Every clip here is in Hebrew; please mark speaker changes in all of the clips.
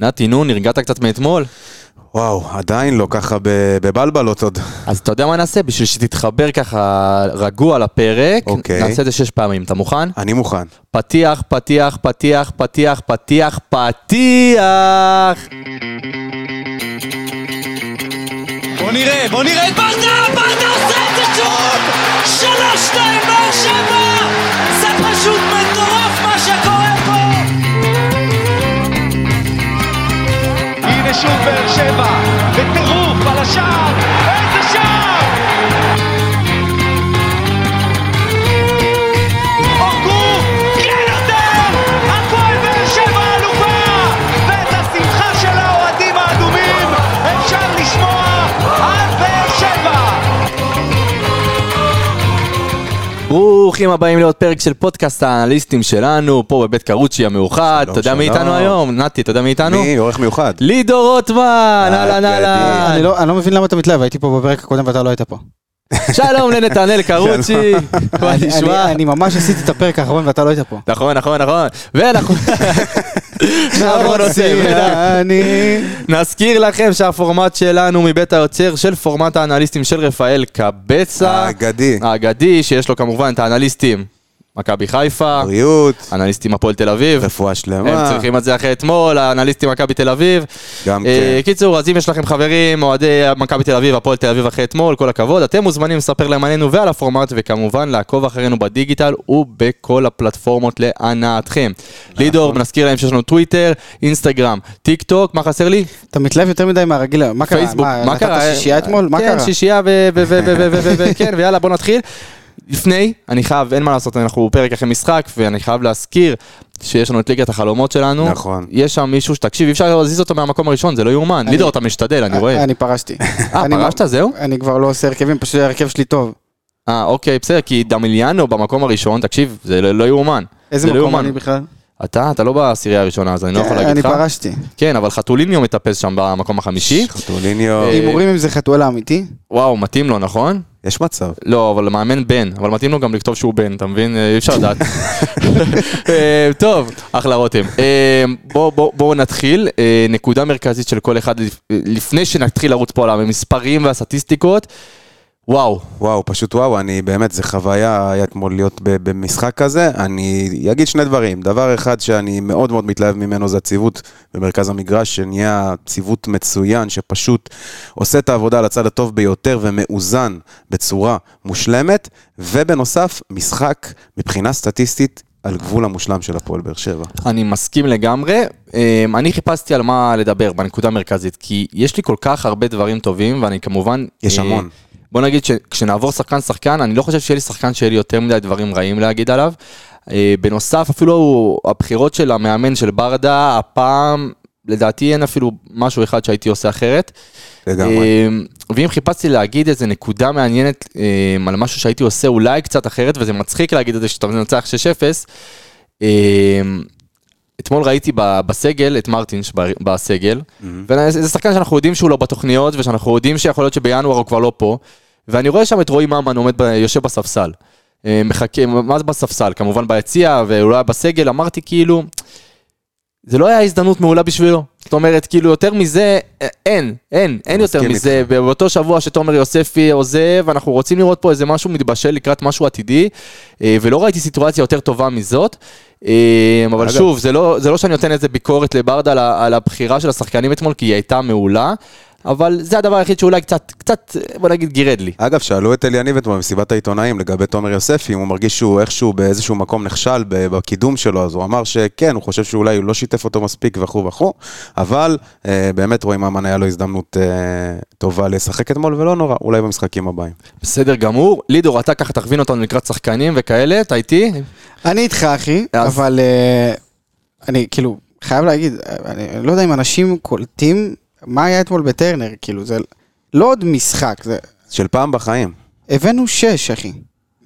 Speaker 1: נתי, נו, נרגעת קצת מאתמול?
Speaker 2: וואו, עדיין לא ככה ב- בבלבלות עוד.
Speaker 1: אז אתה יודע מה נעשה? בשביל שתתחבר ככה רגוע לפרק,
Speaker 2: אוקיי.
Speaker 1: נעשה את זה שש פעמים. אתה מוכן?
Speaker 2: אני מוכן.
Speaker 1: פתיח, פתיח, פתיח, פתיח, פתיח, פתיח!
Speaker 3: בוא נראה, בוא נראה את ברדה, ברדה עושה את זה שוב! שלוש, שתיים, באר שבע! זה פשוט מטורף מה שקורה פה!
Speaker 4: הנה שוב באר שבע, בטירוף על השער, איזה שער! הורגו, כן יותר! הפועל באר שבע אלופה! ואת השמחה של האוהדים האדומים אפשר לשמוע עד באר שבע!
Speaker 1: ברוכים הבאים לעוד פרק של פודקאסט האנליסטים שלנו, פה בבית קרוצ'י המאוחד.
Speaker 2: שלום,
Speaker 1: אתה יודע מי
Speaker 2: שלום.
Speaker 1: איתנו היום? נתי, אתה יודע מי איתנו?
Speaker 2: אני עורך מיוחד.
Speaker 1: לידור רוטמן, אהלן
Speaker 2: אה,
Speaker 1: אהלן.
Speaker 5: אני לא, אני לא מבין למה אתה מתלהב, הייתי פה בפרק הקודם ואתה לא היית פה.
Speaker 1: לא- שלום לנתנאל קרוצ'י, מה
Speaker 5: אני,
Speaker 1: נשמע?
Speaker 5: אני, אני ממש עשיתי את הפרק האחרון ואתה לא היית פה.
Speaker 1: נכון, נכון, נכון. ואנחנו... שאפו נושא,
Speaker 5: אני...
Speaker 1: נזכיר לכם שהפורמט שלנו מבית היוצר של פורמט האנליסטים של רפאל קבצה.
Speaker 2: האגדי.
Speaker 1: האגדי, שיש לו כמובן את האנליסטים מכבי חיפה,
Speaker 2: בריאות,
Speaker 1: אנליסטים הפועל תל אביב.
Speaker 2: רפואה
Speaker 1: לא. הם
Speaker 2: שלמה.
Speaker 1: צריכים את זה אחרי אתמול, האנליסטים מכבי תל אביב.
Speaker 2: גם
Speaker 1: אה,
Speaker 2: כן.
Speaker 1: קיצור, אז אם יש לכם חברים, אוהדי מכבי תל אביב, הפועל תל אביב אחרי אתמול, כל הכבוד, אתם מוזמנים לספר להם עלינו ועל הפורמט, וכמובן לעקוב אחרינו בדיגיטל ובכל הפלטפורמות להנאתכם.
Speaker 2: נכון.
Speaker 1: לידור, נזכיר להם שיש לנו טוויטר, אינסטגרם, טיק טוק, מה חסר לי?
Speaker 5: אתה מתלהב יותר מדי מהרגיל היום, מה קרה?
Speaker 1: פייסבוק, מה קרה?
Speaker 5: נתת שישייה אתמול? מה
Speaker 1: כן,
Speaker 5: קרה?
Speaker 1: שישייה ו... ו- ו- ו- ו- ו- ו- ו- כן, ויאללה, בוא נתחיל. לפני, אני חייב, אין מה לעשות, אנחנו פרק אחרי משחק, ואני חייב להזכיר שיש לנו את ליגת החלומות שלנו.
Speaker 2: נכון.
Speaker 1: יש שם מישהו שתקשיב, אי אפשר להזיז אותו מהמקום הראשון, זה לא יאומן. לידור, אתה משתדל, אני רואה.
Speaker 5: אה, אני פרשתי.
Speaker 1: אה,
Speaker 5: אני-
Speaker 1: פרשת, זהו?
Speaker 5: אני כבר לא עושה הרכבים, פשוט ההרכב שלי טוב.
Speaker 1: אה, אוקיי, בסדר, כי דמיליאנו במקום הראשון, תקשיב, זה לא לא יאומן.
Speaker 5: איזה
Speaker 1: זה לא
Speaker 5: מקום
Speaker 1: יאומן.
Speaker 5: אני בכלל?
Speaker 1: אתה, אתה לא בעשירייה הראשונה, אז אני לא יכול להגיד
Speaker 5: אני
Speaker 1: לך.
Speaker 5: פרשתי.
Speaker 1: כן, אבל חתוליניו מטפס שם במקום החמישי.
Speaker 2: חתוליניו,
Speaker 1: אה,
Speaker 5: הימורים אם זה חתואל האמיתי?
Speaker 1: וואו, מתאים לו, נכון?
Speaker 2: יש מצב.
Speaker 1: לא, אבל מאמן בן, אבל מתאים לו גם לכתוב שהוא בן, אתה מבין? אה, אי אפשר לדעת. אה, טוב, אחלה רותם. אה, בוא- בוא- בואו נתחיל. אה, נקודה מרכזית של כל אחד, לפ- לפני שנתחיל לרוץ פה על המספרים והסטטיסטיקות, וואו,
Speaker 2: וואו, פשוט וואו, אני באמת, זו חוויה היה אתמול להיות ב- במשחק כזה. אני אגיד שני דברים. דבר אחד שאני מאוד מאוד מתלהב ממנו זה הציוות במרכז המגרש, שנהיה ציוות מצוין, שפשוט עושה את העבודה על הצד הטוב ביותר ומאוזן בצורה מושלמת. ובנוסף, משחק מבחינה סטטיסטית על גבול המושלם של הפועל באר שבע.
Speaker 1: אני מסכים לגמרי. אמ, אני חיפשתי על מה לדבר בנקודה המרכזית, כי יש לי כל כך הרבה דברים טובים, ואני כמובן...
Speaker 2: יש
Speaker 1: אה,
Speaker 2: המון.
Speaker 1: בוא נגיד שכשנעבור שחקן-שחקן, אני לא חושב שיהיה לי שחקן שיהיה לי יותר מדי דברים רעים להגיד עליו. אה, בנוסף, אפילו הבחירות של המאמן של ברדה, הפעם, לדעתי אין אפילו משהו אחד שהייתי עושה אחרת.
Speaker 2: לגמרי.
Speaker 1: אמ, ואם חיפשתי להגיד איזה נקודה מעניינת אמ, על משהו שהייתי עושה אולי קצת אחרת, וזה מצחיק להגיד את זה שאתה מנצח 6-0, אמ, אתמול ראיתי ב- בסגל את מרטינש ב- בסגל, וזה שחקן שאנחנו יודעים שהוא לא בתוכניות, ושאנחנו יודעים שיכול להיות שבינואר הוא כבר לא פה, ואני רואה שם את רועי ממן עומד, ב- יושב בספסל. אה, מחכה, מה זה בספסל? כמובן ביציע, והוא לא היה בסגל, אמרתי כאילו, זה לא היה הזדמנות מעולה בשבילו. זאת אומרת, כאילו, יותר מזה, אה, אין, אין, אין יותר
Speaker 2: מסכים
Speaker 1: מזה. באותו שבוע שתומר יוספי עוזב, אנחנו רוצים לראות פה איזה משהו מתבשל לקראת משהו עתידי, אה, ולא ראיתי סיטואציה יותר טובה מזאת. אה, אבל
Speaker 2: אגב.
Speaker 1: שוב, זה לא, זה לא שאני נותן איזה ביקורת לברדה על, ה- על הבחירה של השחקנים אתמול, כי היא הייתה מעולה, אבל זה הדבר היחיד שאולי קצת, קצת, בוא נגיד, גירד לי.
Speaker 2: אגב, שאלו את אלי יניב אתמול במסיבת העיתונאים לגבי תומר יוספי, אם הוא מרגיש שהוא איכשהו באיזשהו מקום נכשל ב- בקידום שלו, אז הוא אמר שכן, הוא חושב שאולי הוא לא שיתף אותו מספיק וכו' וכו', אבל אה, באמת רואים אמן היה לו הזדמנות אה, טובה לשחק אתמול, ולא נורא, אולי במשחקים הבאים.
Speaker 1: בסדר גמור. לידור, אתה ככה תכווין אותנו לקראת שחקנים וכאלה, אתה איתי?
Speaker 5: אני איתך אחי,
Speaker 1: אז-
Speaker 5: אבל אה, אני כאילו חייב להגיד, אני לא יודע אם אנשים קולטים מה היה אתמול בטרנר, כאילו זה לא עוד משחק, זה
Speaker 2: של פעם בחיים.
Speaker 5: הבאנו שש, אחי.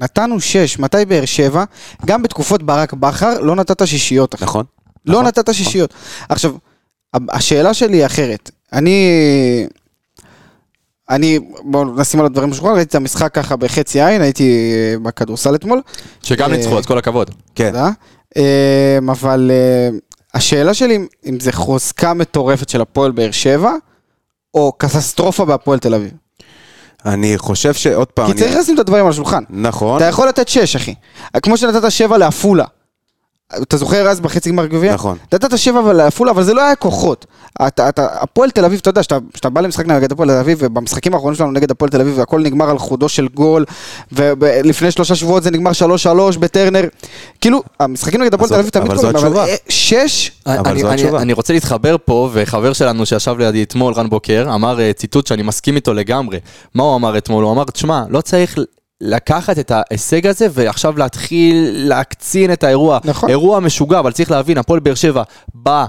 Speaker 5: נתנו שש. מתי באר שבע? גם בתקופות ברק בכר לא נתת שישיות, אחי.
Speaker 2: נכון?
Speaker 5: לא נתת שישיות. עכשיו, ה- השאלה שלי היא אחרת. אני... אני, בואו נשים על הדברים בשולחן, ראיתי את המשחק ככה בחצי עין, הייתי אה, בכדורסל אתמול.
Speaker 1: שגם
Speaker 5: אה,
Speaker 1: ניצחו, אז כל הכבוד.
Speaker 2: כן.
Speaker 5: תודה. אמ, אבל אמ, השאלה שלי אם- אם זה חוזקה מטורפת של הפועל באר שבע, או קטסטרופה בהפועל תל אביב.
Speaker 2: אני חושב שעוד פעם...
Speaker 5: כי
Speaker 2: לא, אני-
Speaker 5: צריך לשים את הדברים על השולחן.
Speaker 2: נכון,
Speaker 5: אתה יכול לתת 6, אחי. כמו שנתת 7 לעפולה. אתה זוכר אז בחצי גמר גביע?
Speaker 2: נכון.
Speaker 5: נתת 7 לעפולה, אבל זה לא היה כוחות. אתה, אתה, הפועל תל אביב, אתה יודע, שאתה- כשאתה בא למשחק נגד הפועל תל אביב, ובמשחקים האחרונים שלנו נגד הפועל תל אביב, הכל נגמר על חודו של גול, ולפני שלושה שבועות זה נגמר 3-3 בטרנר. כאילו, המשחקים נגד
Speaker 2: אבל
Speaker 5: הפועל תל אביב
Speaker 2: זאת-
Speaker 5: תמיד אה,
Speaker 2: אבל זו התשובה.
Speaker 5: 6?
Speaker 2: אבל
Speaker 1: אני,
Speaker 2: זו
Speaker 1: אני,
Speaker 2: התשובה.
Speaker 1: אני רוצה להתחבר פה, וחבר שלנו שישב לידי אתמול, רן בוקר, אמר אה, ציטוט שאני מסכים איתו לגמרי. מה הוא אמר אתמול? הוא אמר, תשמע, לא צריך לקחת את ההישג הזה ועכשיו להתחיל להקצין את האירוע.
Speaker 5: נכון.
Speaker 1: אירוע משוגע, אבל צריך להבין, הפועל באר שבע באה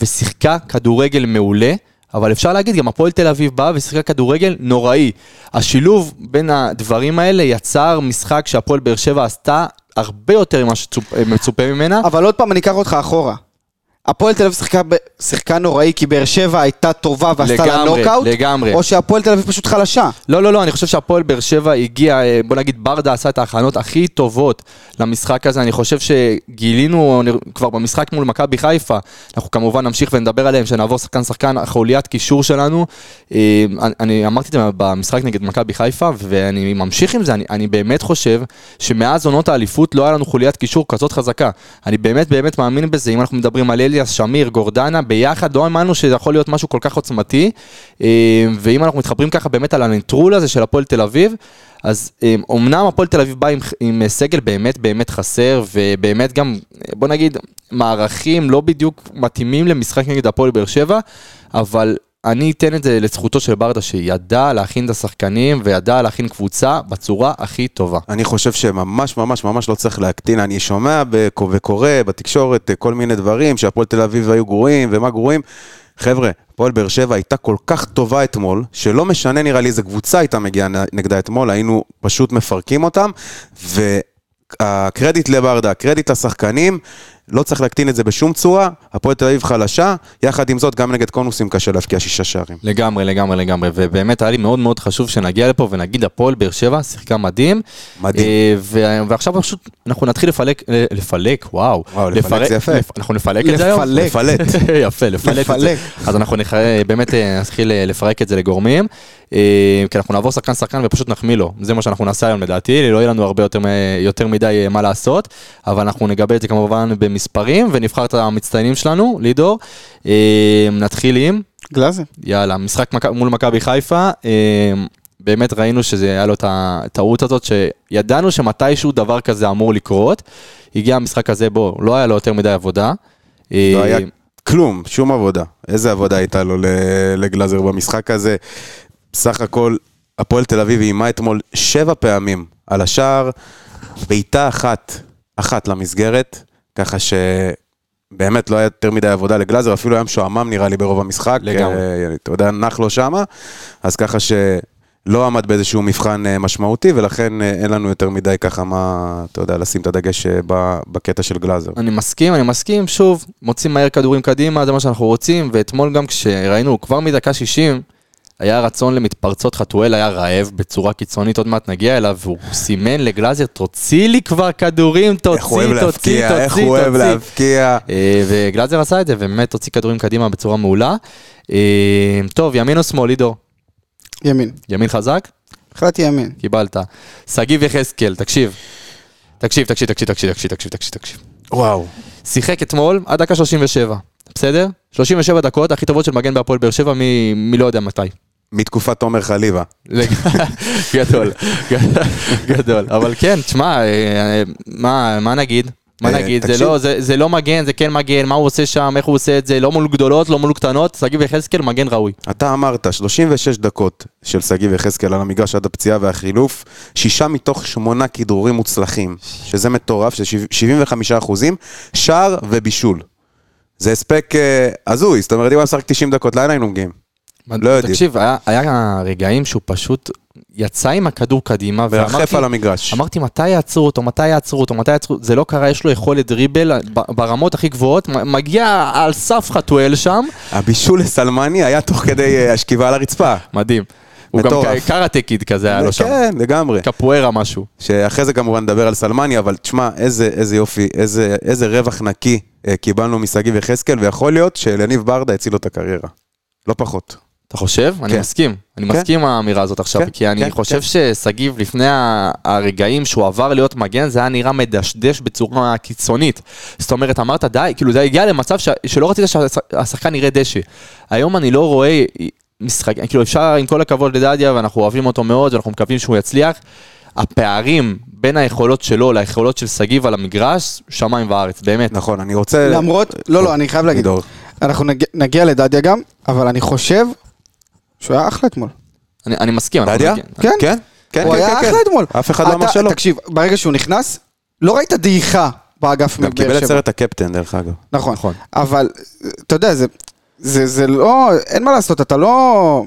Speaker 1: ושיחקה כדורגל מעולה. אבל אפשר להגיד, גם הפועל תל אביב באה ושיחקה כדורגל נוראי. השילוב בין הדברים האלה יצר משחק שהפועל באר שבע עשתה הרבה יותר ממה שמצופה ממנה.
Speaker 5: אבל עוד פעם אני אקח אותך אחורה. הפועל תל אביב שיחקה, ב- שיחקה נוראי כי באר שבע הייתה טובה ועשתה לה
Speaker 1: לגמרי,
Speaker 5: נוקאוט?
Speaker 1: לגמרי.
Speaker 5: או שהפועל תל אביב פשוט חלשה?
Speaker 1: לא, לא, לא, אני חושב שהפועל באר שבע הגיע, אה, בוא נגיד, ברדה עשה את ההכנות הכי טובות למשחק הזה. אני חושב שגילינו נר- כבר במשחק מול מכבי חיפה, אנחנו כמובן נמשיך ונדבר עליהם, שנעבור שחקן-שחקן, חוליית קישור שלנו. אה, אני, אני אמרתי את זה במשחק נגד מכבי חיפה, ואני ממשיך עם זה, אני, אני באמת חושב שמאז עונות האליפות לא היה לנו חוליית קישור כזאת חזקה. אני באמת באמת מאמין בזה, אם אנחנו מדברים על אליאס, שמיר, גורדנה, ביחד לא האמנו שזה יכול להיות משהו כל כך עוצמתי. אה, ואם אנחנו מתחברים ככה באמת על הנטרול הזה של הפועל תל אביב, אז אה, אומנם הפועל תל אביב בא עם, עם סגל באמת באמת חסר, ובאמת גם, אה, בוא נגיד, מערכים לא בדיוק מתאימים למשחק נגד הפועל באר שבע, אבל... אני אתן את זה לזכותו של ברדה, שידע להכין את השחקנים וידע להכין קבוצה בצורה הכי טובה.
Speaker 2: אני חושב שממש ממש ממש לא צריך להקטין. אני שומע בק- וקורא בתקשורת אה, כל מיני דברים, שהפועל תל אביב היו גרועים ומה גרועים. חבר'ה, הפועל באר שבע הייתה כל כך טובה אתמול, שלא משנה נראה לי איזה קבוצה הייתה מגיעה נ- נגדה אתמול, היינו פשוט מפרקים אותם, והקרדיט לברדה, הקרדיט לשחקנים, לא צריך להקטין את זה בשום צורה, הפועל תל אביב חלשה, יחד עם זאת גם נגד קונוסים קשה להבקיע שישה שערים.
Speaker 1: לגמרי, לגמרי, לגמרי, ובאמת היה לי מאוד מאוד חשוב שנגיע לפה ונגיד הפועל באר שבע שיחקה מדהים.
Speaker 2: מדהים.
Speaker 1: אה, ו- ועכשיו פשוט אנחנו נתחיל לפלק, אה, לפלק, וואו.
Speaker 2: וואו, לפלק
Speaker 1: לפרק-
Speaker 2: זה יפה.
Speaker 1: לפ- אנחנו נפלק את זה היום?
Speaker 5: לפלק.
Speaker 2: לפלט.
Speaker 1: יפה, לפלק. את זה.
Speaker 5: לפלק.
Speaker 1: אז אנחנו נח... באמת אה, נתחיל אה, לפרק את זה לגורמים, אה, כי אנחנו נעבור שחקן שחקן ופשוט נחמיא לו, זה מה שאנחנו נעשה היום לדעתי, לא יהיה לנו הרבה יותר, מ- יותר מדי אה, מה לעשות, אבל אנחנו נגבה את זה כמובן במספרים, ונבחר את המצטיינים שלנו, לידור. אה, נתחיל עם...
Speaker 5: גלאזר.
Speaker 1: יאללה, משחק מק... מול מכבי חיפה, אה, באמת ראינו שזה היה לו את הטעות הזאת, שידענו שמתישהו דבר כזה אמור לקרות. הגיע המשחק הזה, בו, לא היה לו יותר מדי עבודה. אה,
Speaker 2: לא היה כלום, שום עבודה. איזה עבודה הייתה לו ל- לגלאזר במשחק הזה? בסך הכל, הפועל תל אביב איימה אתמול שבע פעמים על השער, בעיטה אחת, אחת למסגרת, ככה ש... באמת לא היה יותר מדי עבודה לגלאזר, אפילו היה משועמם נראה לי ברוב המשחק.
Speaker 1: לגמרי.
Speaker 2: אה, אתה יודע, נח לו שמה, אז ככה שלא עמד באיזשהו מבחן אה, משמעותי, ולכן אה, אין לנו יותר מדי ככה מה, אתה יודע, לשים את הדגש אה, ב- בקטע של גלאזר.
Speaker 1: אני מסכים, אני מסכים, שוב, מוצאים מהר כדורים קדימה, זה מה שאנחנו רוצים, ואתמול גם כשראינו, כבר מדקה 60, היה רצון למתפרצות, חתואל היה רעב בצורה קיצונית, עוד מעט נגיע אליו, והוא סימן לגלאזר, תוציא לי כבר כדורים, תוציא,
Speaker 2: איך הוא אוהב
Speaker 1: תוציא, תוציא,
Speaker 2: להבקיע, איך הוא אוהב
Speaker 1: תוציא.
Speaker 2: להבקיע.
Speaker 1: אה, וגלאזר עשה את זה, ובאמת הוציא כדורים קדימה בצורה מעולה. אה, טוב, ימין או שמאל, לידו?
Speaker 5: ימין.
Speaker 1: ימין חזק?
Speaker 5: החלטתי ימין.
Speaker 1: קיבלת. שגיב יחזקאל, תקשיב. תקשיב, תקשיב, תקשיב, תקשיב, תקשיב, תקשיב, תקשיב, תקשיב.
Speaker 2: וואו.
Speaker 1: שיחק אתמול עד דקה 37, בסדר? 37 דקות הכי טובות של מגן בהפועל באר שבע מ- מלא יודע מתי.
Speaker 2: מתקופת תומר חליבה.
Speaker 1: לג- גדול, גדול, גדול. אבל כן, תשמע, אה, מה מה נגיד? מה
Speaker 2: אה,
Speaker 1: נגיד? זה
Speaker 2: תקשיב.
Speaker 1: לא- זה זה לא מגן, זה כן מגן, מה הוא עושה שם, איך הוא עושה את זה, לא מול גדולות, לא מול קטנות, שגיב יחזקאל מגן ראוי.
Speaker 2: אתה אמרת, 36 דקות של שגיב יחזקאל על המגרש עד הפציעה והחילוף, שישה מתוך שמונה כידורים מוצלחים, שזה מטורף, שזה שבע- 75 אחוזים, שער ובישול. זה הספק אה, הזוי, זאת אומרת, אם הוא היה משחק 90 דקות, לאן היינו מגיעים? לא יודעים.
Speaker 1: תקשיב, היה- היה רגעים שהוא פשוט יצא עם הכדור קדימה,
Speaker 2: מרחף על המגרש.
Speaker 1: אמרתי, מתי יעצרו אותו, מתי יעצרו אותו, מתי יעצרו, זה לא קרה, יש לו יכולת דריבל ב- ברמות הכי גבוהות, מ- מגיע על סף חתואל שם,
Speaker 2: הבישול לסלמני היה תוך כדי אה, השכיבה על הרצפה.
Speaker 1: מדהים. הוא גם
Speaker 2: מטורף.
Speaker 1: ק- קראטה קיד כזה היה לו שם,
Speaker 2: כן, לגמרי.
Speaker 1: קפוארה משהו.
Speaker 2: שאחרי זה כמובן נדבר על סלמני, אבל תשמע, איזה, איזה יופי, איזה, איזה רווח נקי אה, קיבלנו משגיב יחזקאל, ויכול להיות שלניב ברדה הציל לו את הקריירה. לא פחות.
Speaker 1: אתה חושב? אני
Speaker 2: כן.
Speaker 1: מסכים. אני
Speaker 2: כן.
Speaker 1: מסכים עם האמירה הזאת עכשיו,
Speaker 2: כן,
Speaker 1: כי
Speaker 2: כן,
Speaker 1: אני חושב
Speaker 2: כן.
Speaker 1: ששגיב, לפני ה- הרגעים שהוא עבר להיות מגן, זה היה נראה מדשדש בצורה קיצונית. זאת אומרת, אמרת די, כאילו זה הגיע למצב ש- שלא רצית שהשחקן יראה דשא. היום אני לא רואה משחק, כאילו אפשר עם כל הכבוד לדדיה, ואנחנו אוהבים אותו מאוד, ואנחנו מקווים שהוא יצליח. הפערים בין היכולות שלו ליכולות של שגיב על המגרש, שמיים וארץ, באמת.
Speaker 2: נכון, אני רוצה... אה,
Speaker 5: למרות, לא, לא, אני חייב להגיד,
Speaker 2: עידו.
Speaker 5: אנחנו נגיע- נגיע לדדיה גם, אבל אני חושב שהוא היה אחלה אתמול.
Speaker 1: אני, אני מסכים. אנחנו
Speaker 2: דדיה?
Speaker 1: נגיע-
Speaker 2: כן, כן, כן.
Speaker 5: הוא היה
Speaker 2: כן,
Speaker 5: אחלה
Speaker 2: כן.
Speaker 5: אתמול.
Speaker 2: אף אחד לא אמר
Speaker 5: אתה-
Speaker 2: שלא.
Speaker 5: תקשיב, ברגע שהוא נכנס, לא ראית דעיכה באגף
Speaker 2: גם קיבל
Speaker 5: מבאר
Speaker 2: את
Speaker 5: שבע.
Speaker 2: סרט הקפטן, דרך אגב.
Speaker 5: נכון,
Speaker 1: נכון.
Speaker 5: אבל אתה יודע, זה- זה זה לא, אין מה לעשות, אתה לא...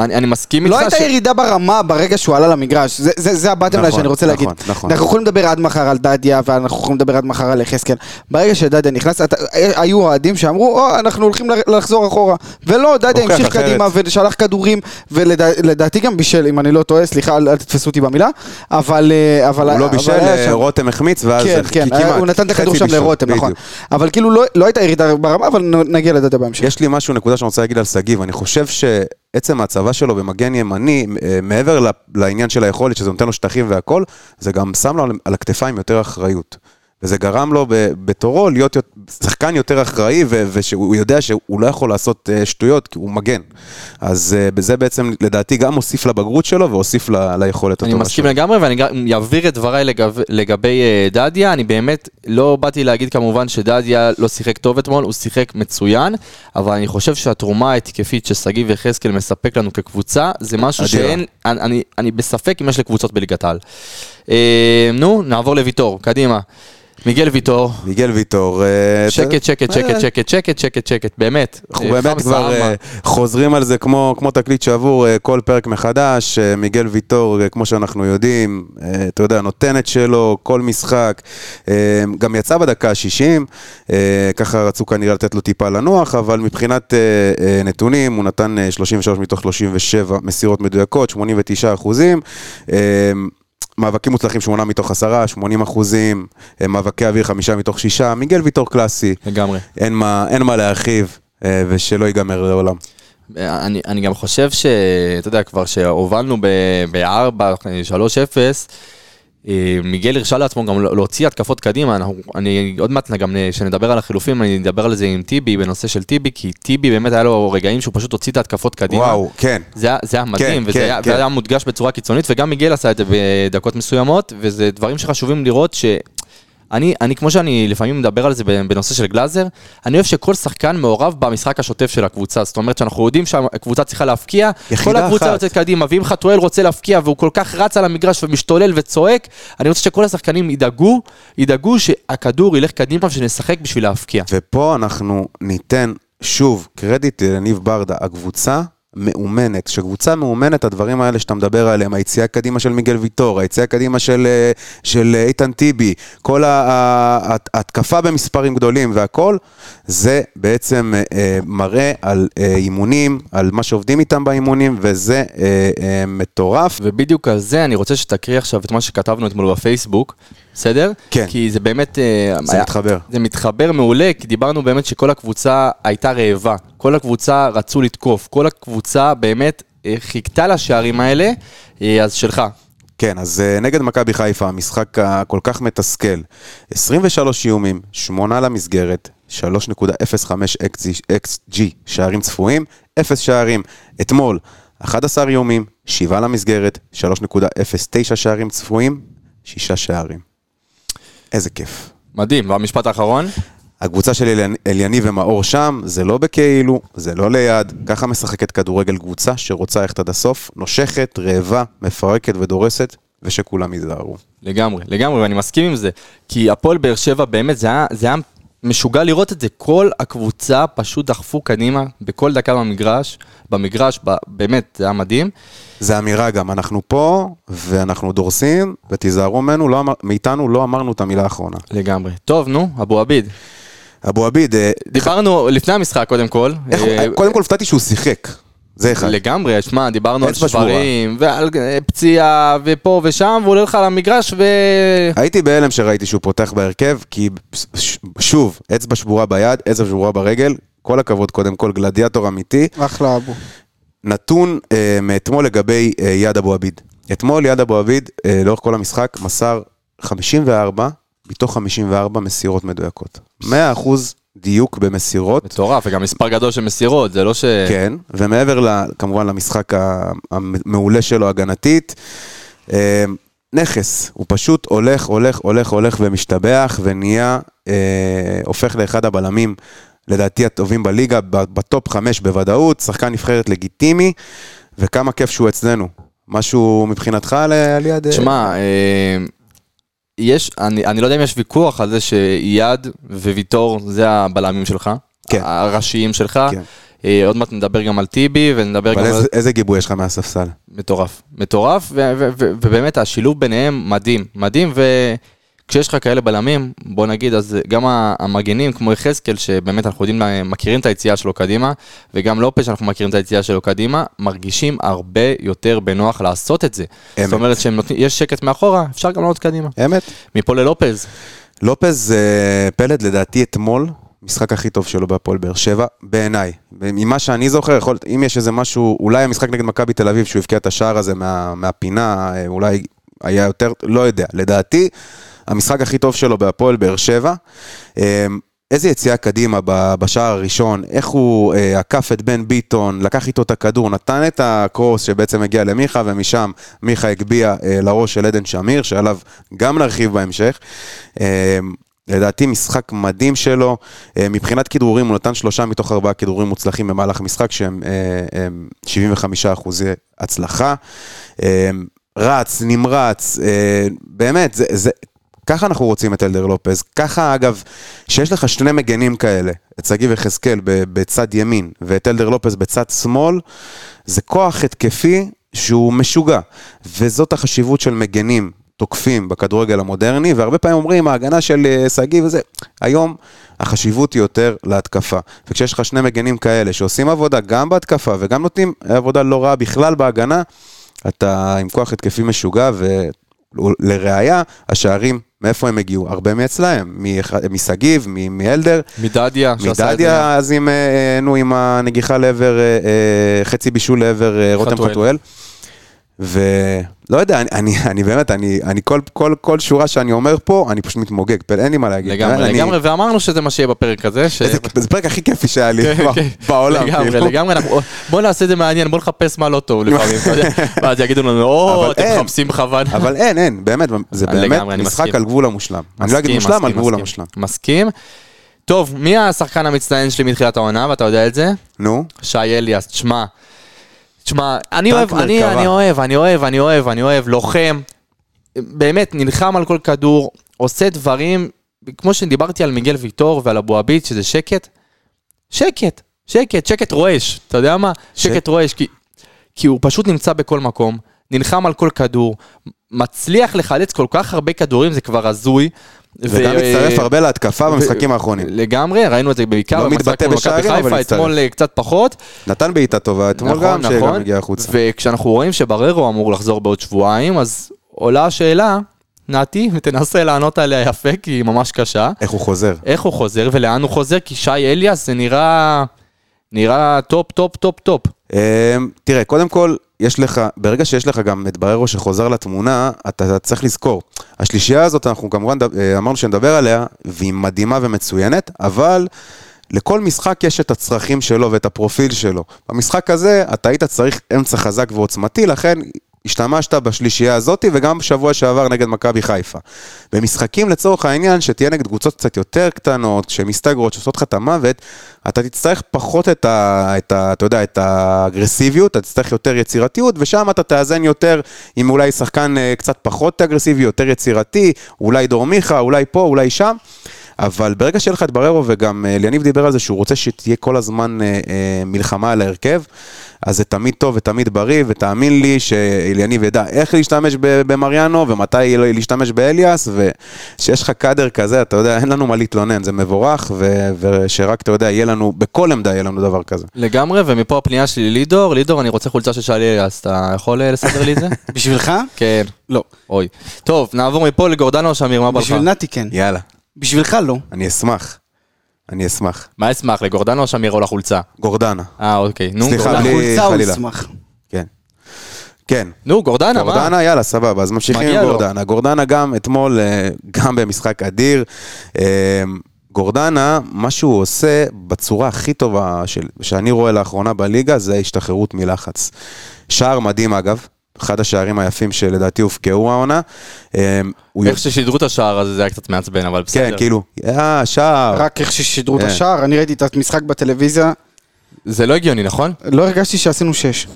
Speaker 1: אני, אני מסכים
Speaker 5: לא
Speaker 1: איתך
Speaker 5: הייתה ירידה ברמה ברגע שהוא עלה למגרש, זה- זה זה הבטם
Speaker 2: נכון,
Speaker 5: ליין שאני רוצה
Speaker 2: נכון,
Speaker 5: להגיד.
Speaker 2: נכון.
Speaker 5: אנחנו יכולים לדבר עד מחר על דדיה, ואנחנו יכולים לדבר עד מחר על יחזקאל. ברגע שדדיה נכנס, אתה- היו אוהדים שאמרו, או, אנחנו הולכים לח- לחזור אחורה. ולא, דדיה
Speaker 2: הוכיח
Speaker 5: המשיך
Speaker 2: אחרת.
Speaker 5: קדימה ושלח כדורים, ולדעתי גם בישל, אם אני לא טועה, סליחה, אל אל תתפסו אותי במילה, אבל... אה, אבל-
Speaker 2: הוא לא
Speaker 5: אבל
Speaker 2: בישל,
Speaker 5: היה
Speaker 2: אה,
Speaker 5: שם-
Speaker 2: רותם החמיץ, ואז
Speaker 5: כן,
Speaker 2: כ-
Speaker 5: כן,
Speaker 2: כמעט,
Speaker 5: הוא נתן את הכדור
Speaker 2: חצי
Speaker 5: שם
Speaker 2: בישול,
Speaker 5: לרותם, נכון.
Speaker 2: בדיוק.
Speaker 5: אבל כאילו לא- לא הייתה ירידה ברמה, אבל נ- נגיע לדדיה בהמשך.
Speaker 2: יש לי משהו, נקודה שאני רוצה להגיד על שגיב. אני חושב שעצם ההצבה שלו במגן ימני, אה, מעבר ל- לעניין של היכולת, שזה נותן לו שטחים והכל, זה גם שם לו על- על הכתפיים יותר אחריות. וזה גרם לו ב- בתורו להיות יות- שחקן יותר אחראי, ו- ושהוא יודע שהוא לא יכול לעשות אה, שטויות, כי הוא מגן. אז אה, בזה בעצם, לדעתי, גם הוסיף לבגרות שלו, והוסיף ל- ליכולת
Speaker 1: אני
Speaker 2: הטובה
Speaker 1: מסכים
Speaker 2: שלו.
Speaker 1: לגמרי, ואני גם אעביר את דבריי לגב, לגבי אה, דדיה. אני באמת לא באתי להגיד כמובן שדדיה לא שיחק טוב אתמול, הוא שיחק מצוין, אבל אני חושב שהתרומה ההתקפית ששגיב יחזקאל מספק לנו כקבוצה, זה משהו
Speaker 2: אדירה.
Speaker 1: שאין, אני, אני, אני בספק אם יש לקבוצות בליגת העל. אה, נו, נעבור לוויטור, קדימה. מיגל ויטור,
Speaker 2: מיגל ויטור. אה,
Speaker 1: שקט, שקט, שקט, שקט, שקט, שקט, שקט, באמת.
Speaker 2: אנחנו
Speaker 1: אה,
Speaker 2: באמת
Speaker 1: חמסה
Speaker 2: כבר
Speaker 1: עמאר.
Speaker 2: אה, חוזרים על זה כמו, כמו תקליט שעבור אה, כל פרק מחדש. אה, מיגל ויטור, אה, כמו שאנחנו יודעים, אה, אתה יודע, נותן את שלו, כל משחק. אה, גם יצא בדקה ה-60, ככה רצו כנראה לתת לו טיפה לנוח, אבל מבחינת אה, אה, נתונים, הוא נתן אה, 33 מתוך 37 מסירות מדויקות, 89 אחוזים. אה, מאבקים מוצלחים, 8 מתוך 10, 80 אחוזים, אה, מאבקי אוויר, 5 מתוך 6, מיגל ויטור קלאסי.
Speaker 1: לגמרי.
Speaker 2: אין מה, אין מה להרחיב, אה, ושלא ייגמר לעולם.
Speaker 1: אני, אני גם חושב ש... אתה יודע, כבר שהובלנו ב-4-3-0, אה, מיגל הרשה לעצמו גם להוציא התקפות קדימה. אנחנו, אני עוד מעט גם, נ- כשנדבר על החילופים, אני אדבר על זה עם טיבי, בנושא של טיבי, כי טיבי באמת היה לו רגעים שהוא פשוט הוציא את ההתקפות קדימה.
Speaker 2: וואו, כן.
Speaker 1: זה, היה- זה היה מדהים,
Speaker 2: כן,
Speaker 1: וזה
Speaker 2: כן,
Speaker 1: היה,
Speaker 2: כן.
Speaker 1: וזה היה מודגש בצורה קיצונית, וגם מיגל עשה את זה בדקות מסוימות, וזה דברים שחשובים לראות ש... אני, אני, כמו שאני לפעמים מדבר על זה בנושא של גלאזר, אני אוהב שכל שחקן מעורב במשחק השוטף של הקבוצה. זאת אומרת שאנחנו יודעים שהקבוצה צריכה להפקיע,
Speaker 2: יחידה
Speaker 1: כל הקבוצה
Speaker 2: אחת.
Speaker 1: יוצאת קדימה, ואם חתואל רוצה להפקיע והוא כל כך רץ על המגרש ומשתולל וצועק, אני רוצה שכל השחקנים ידאגו, ידאגו שהכדור ילך קדימה ושנשחק בשביל להפקיע.
Speaker 2: ופה אנחנו ניתן שוב קרדיט לניב ברדה, הקבוצה מאומנת. כשקבוצה מאומנת, הדברים האלה שאתה מדבר עליהם, היציאה קדימה של מיגל ויטור, היציאה קדימה של, אה, של אה, איתן טיבי, כל ה- ה- הת- התקפה במספרים גדולים והכל, זה בעצם אה, אה, מראה על אה, אימונים, על מה שעובדים איתם באימונים, וזה אה, אה, מטורף.
Speaker 1: ובדיוק על זה אני רוצה שתקריא עכשיו את מה שכתבנו אתמול בפייסבוק, בסדר?
Speaker 2: כן.
Speaker 1: כי זה באמת... אה,
Speaker 2: זה מתחבר.
Speaker 1: זה מתחבר מעולה, כי דיברנו באמת שכל הקבוצה הייתה רעבה. כל הקבוצה רצו לתקוף. כל הקבוצה באמת אה, חיכתה לשערים האלה, אה, אז שלך.
Speaker 2: כן, אז אה, נגד מכבי חיפה, המשחק הכל כך מתסכל. 23 איומים, 8 למסגרת, 3.05 XG, XG שערים צפויים, 0 שערים. אתמול, 11 איומים, 7 למסגרת, 3.09 שערים צפויים, 6 שערים. איזה כיף.
Speaker 1: מדהים, לא, והמשפט האחרון?
Speaker 2: הקבוצה של אליאני- אליאני ומאור שם, זה לא בכאילו, זה לא ליד. ככה משחקת כדורגל קבוצה שרוצה ללכת עד הסוף, נושכת, רעבה, מפרקת ודורסת, ושכולם יזהרו.
Speaker 1: לגמרי, לגמרי, ואני מסכים עם זה. כי הפועל באר שבע באמת, זה היה, זה היה משוגע לראות את זה. כל הקבוצה פשוט דחפו קדימה בכל דקה במגרש, במגרש, ב, באמת, זה היה מדהים.
Speaker 2: זה אמירה גם, אנחנו פה, ואנחנו דורסים, ותיזהרו ממנו, לא אמר, מאיתנו לא אמרנו את המילה האחרונה.
Speaker 1: לגמרי. טוב, נו, אבו עביד.
Speaker 2: אבו עביד, אה,
Speaker 1: דיברנו לפני המשחק קודם כל.
Speaker 2: איך,
Speaker 1: אה,
Speaker 2: קודם כל הופתעתי שהוא שיחק. זה אחד.
Speaker 1: לגמרי, שמע, דיברנו על
Speaker 2: אצבע
Speaker 1: שברים, ועל אה, פציעה, ופה ושם, והוא עולה לך למגרש, ו...
Speaker 2: הייתי בהלם שראיתי שהוא פותח בהרכב, כי ש- שוב, אצבע שבורה ביד, אצבע שבורה ברגל, כל הכבוד קודם כל, גלדיאטור אמיתי.
Speaker 5: אחלה אבו.
Speaker 2: נתון אה, מאתמול לגבי אה, יד אבו עביד. אתמול יד אבו עביד, אה, לאורך כל המשחק, מסר 54 מתוך 54 מסירות מדויקות. 100% דיוק במסירות.
Speaker 1: מטורף, וגם מספר גדול של מסירות, זה לא ש...
Speaker 2: כן, ומעבר ל- כמובן למשחק ה- המעולה שלו הגנתית, אה, נכס, הוא פשוט הולך, הולך, הולך, הולך ומשתבח ונהיה, אה, הופך לאחד הבלמים, לדעתי הטובים בליגה, ב- בטופ חמש בוודאות, שחקן נבחרת לגיטימי, וכמה כיף שהוא אצלנו. משהו מבחינתך על, על יד... אה,
Speaker 1: תשמע, אה, יש, אני, אני לא יודע אם יש ויכוח על זה שאייד וויטור זה הבלמים שלך,
Speaker 2: כן.
Speaker 1: הראשיים שלך.
Speaker 2: כן.
Speaker 1: אה, עוד מעט נדבר גם על טיבי ונדבר גם
Speaker 2: אבל
Speaker 1: על...
Speaker 2: איזה, איזה גיבוי יש לך מהספסל?
Speaker 1: מטורף, מטורף, ו- ו- ו- ובאמת השילוב ביניהם מדהים, מדהים, וכשיש לך כאלה בלמים, בוא נגיד, אז גם ה- המגנים כמו יחזקאל, שבאמת אנחנו יודעים, מכירים את היציאה שלו קדימה, וגם לופש, אנחנו מכירים את היציאה שלו קדימה, מרגישים הרבה יותר בנוח לעשות את זה.
Speaker 2: אמת.
Speaker 1: זאת אומרת שיש שקט מאחורה, אפשר גם לעלות קדימה.
Speaker 2: אמת?
Speaker 1: מפה ללופז,
Speaker 2: לופז אה, פלד לדעתי אתמול, משחק הכי טוב שלו בהפועל באר שבע, בעיניי. ממה שאני זוכר, יכול, אם יש איזה משהו, אולי המשחק נגד מכבי תל אביב, שהוא הבקיע את השער הזה מה, מהפינה, אה, אולי היה יותר, לא יודע. לדעתי, המשחק הכי טוב שלו בהפועל באר שבע. אה, איזה יציאה קדימה ב- בשער הראשון, איך הוא אה, עקף את בן ביטון, לקח איתו את הכדור, נתן את הקרוס שבעצם הגיע למיכה, ומשם מיכה הגביה אה, לראש של עדן שמיר, שעליו גם נרחיב בהמשך. אה, לדעתי משחק מדהים שלו, אה, מבחינת כדרורים הוא נתן שלושה מתוך ארבעה כדרורים מוצלחים במהלך המשחק שהם אה, הם 75 אחוזי הצלחה. אה, רץ, נמרץ, אה, באמת, זה, זה, ככה אנחנו רוצים את אלדר לופז. ככה, אגב, שיש לך שני מגנים כאלה, את שגיב יחזקאל ב- בצד ימין ואת אלדר לופז בצד שמאל, זה כוח התקפי שהוא משוגע. וזאת החשיבות של מגנים תוקפים בכדורגל המודרני, והרבה פעמים אומרים, ההגנה של אה, שגיב וזה, היום החשיבות היא יותר להתקפה. וכשיש לך שני מגנים כאלה שעושים עבודה גם בהתקפה וגם נותנים עבודה לא רעה בכלל בהגנה, אתה עם כוח התקפי משוגע, ולראיה, השערים, מאיפה הם הגיעו? הרבה מאצלהם, מאח- משגיב, מ- מאלדר,
Speaker 1: מדדיה, שעשה את זה.
Speaker 2: מדדיה, אז עם, אה, נו, עם הנגיחה לעבר, אה, אה, חצי בישול לעבר אה, רותם
Speaker 1: חתואל.
Speaker 2: חתואל. ולא יודע, אני, אני, אני באמת, אני, אני כל, כל, כל שורה שאני אומר פה, אני פשוט מתמוגג, פל, אין לי מה להגיד.
Speaker 1: לגמרי,
Speaker 2: אני,
Speaker 1: לגמרי, ואמרנו שזה מה שיהיה בפרק הזה. ש-
Speaker 2: איזה, זה הפרק הכי כיפי שהיה לי
Speaker 1: כן,
Speaker 2: כבר
Speaker 1: כן.
Speaker 2: בעולם.
Speaker 1: לגמרי,
Speaker 2: כאילו.
Speaker 1: לגמרי. אנחנו- בוא נעשה את זה מעניין, בוא נחפש מה לא טוב לפעמים. אתה יודע. ואז יגידו לנו, או,
Speaker 2: אבל
Speaker 1: אתם
Speaker 2: אין.
Speaker 1: מחפשים בכוונה.
Speaker 2: אבל אין, אין, באמת, זה
Speaker 1: אה, לגמרי,
Speaker 2: באמת
Speaker 1: אני
Speaker 2: משחק
Speaker 1: מסכים.
Speaker 2: על גבול המושלם. אני לא אגיד
Speaker 1: מסכים,
Speaker 2: מושלם, על
Speaker 1: מסכים,
Speaker 2: גבול
Speaker 1: מסכים.
Speaker 2: המושלם.
Speaker 1: מסכים. טוב, מי השחקן המצטיין שלי מתחילת העונה, ואתה יודע את זה?
Speaker 2: נו,
Speaker 1: שי אליאס, תשמע. תשמע, אני
Speaker 2: טנק
Speaker 1: אוהב, אני,
Speaker 2: מרכבה.
Speaker 1: אני אוהב, אני אוהב, אני אוהב, אני אוהב, לוחם. באמת, נלחם על כל כדור, עושה דברים, כמו שדיברתי על מיגל ויטור ועל אבו עביד, שזה שקט. שקט, שקט, שקט רועש, אתה יודע מה? שקט רועש, כי, כי הוא פשוט נמצא בכל מקום, נלחם על כל כדור, מצליח לחלץ כל כך הרבה כדורים, זה כבר הזוי.
Speaker 2: וגם
Speaker 1: ו- אה,
Speaker 2: מצטרף הרבה להתקפה
Speaker 1: ו-
Speaker 2: במשחקים האחרונים.
Speaker 1: לגמרי, ראינו את זה בעיקר
Speaker 2: לא
Speaker 1: במשחק
Speaker 2: מתבטא
Speaker 1: מול
Speaker 2: בשערים,
Speaker 1: מכבי
Speaker 2: אבל
Speaker 1: חיפה,
Speaker 2: מצטרף.
Speaker 1: אתמול אה, קצת פחות.
Speaker 2: נתן בעיטה טובה אתמול
Speaker 1: נכון,
Speaker 2: גם, שגם
Speaker 1: נכון.
Speaker 2: הגיע החוצה.
Speaker 1: וכשאנחנו רואים שבררו אמור לחזור בעוד שבועיים, אז עולה השאלה, נתי, ותנסה לענות עליה יפה, כי היא ממש קשה.
Speaker 2: איך הוא חוזר.
Speaker 1: איך הוא חוזר ולאן הוא חוזר? כי שי אליאס זה נראה... נראה טופ, טופ, טופ, טופ.
Speaker 2: אמ, תראה, קודם כל, יש לך, ברגע שיש לך גם את בררו שחוזר לתמונה, אתה, אתה צריך לזכור. השלישייה הזאת, אנחנו כמובן ד- אה, אמרנו שנדבר עליה, והיא מדהימה ומצוינת, אבל לכל משחק יש את הצרכים שלו ואת הפרופיל שלו. במשחק הזה, אתה היית צריך אמצע חזק ועוצמתי, לכן... השתמשת בשלישייה הזאת וגם בשבוע שעבר נגד מכבי חיפה. במשחקים לצורך העניין, שתהיה נגד קבוצות קצת יותר קטנות, שמסתגרות, שעושות לך את המוות, אתה תצטרך פחות את ה... את ה אתה יודע, את האגרסיביות, אתה תצטרך יותר יצירתיות, ושם אתה תאזן יותר עם אולי שחקן אה, קצת פחות אגרסיבי, יותר יצירתי, אולי דור מיכה, אולי פה, אולי שם. אבל ברגע שיהיה לך את בררו, וגם אה, אליניב דיבר על זה שהוא רוצה שתהיה כל הזמן אה, אה, מלחמה על ההרכב, אז זה תמיד טוב ותמיד בריא, ותאמין לי שאליניב ידע איך להשתמש ב- במריאנו, ומתי לה- להשתמש באליאס, וכשיש לך קאדר כזה, אתה יודע, אין לנו מה להתלונן, זה מבורך, ו- ושרק, אתה יודע, יהיה לנו, בכל עמדה יהיה לנו דבר כזה.
Speaker 1: לגמרי, ומפה הפנייה שלי לידור, לידור, אני רוצה חולצה של שאלי אז אתה יכול אה, לסדר לי את זה?
Speaker 5: בשבילך?
Speaker 1: כן.
Speaker 5: לא.
Speaker 1: אוי. טוב, נעבור מפה לגורדנה שמיר, מה בא לך?
Speaker 5: בשביל נתי כן.
Speaker 2: יאללה,
Speaker 5: בשבילך לא.
Speaker 2: אני אשמח. אני אשמח.
Speaker 1: מה אשמח, לגורדנה או שמיר או לחולצה?
Speaker 2: גורדנה,
Speaker 1: אה, אוקיי. נו,
Speaker 2: סליחה,
Speaker 1: גורדנה.
Speaker 2: בלי-
Speaker 5: לחולצה לא, הוא
Speaker 2: חלילה.
Speaker 5: ישמח.
Speaker 2: כן. כן.
Speaker 1: נו, גורדנה, מה?
Speaker 2: גורדנה, יאללה, סבבה, אז ממשיכים
Speaker 1: מגיע
Speaker 2: עם
Speaker 1: לו.
Speaker 2: גורדנה. גורדנה גם אתמול, אה, גם במשחק אדיר. אה, גורדנה, מה שהוא עושה בצורה הכי טובה של, שאני רואה לאחרונה בליגה, זה ההשתחררות מלחץ. שער מדהים אגב, אחד השערים היפים שלדעתי הובקעו העונה. אה, הוא
Speaker 1: איך ששידרו את השער הזה, זה היה קצת מעצבן, אבל בסדר.
Speaker 2: כן, כאילו, אה, שער.
Speaker 5: רק איך ששידרו את
Speaker 2: כן.
Speaker 5: השער, אני ראיתי את המשחק בטלוויזיה,
Speaker 1: זה לא הגיוני, נכון?
Speaker 5: לא הרגשתי שעשינו שש.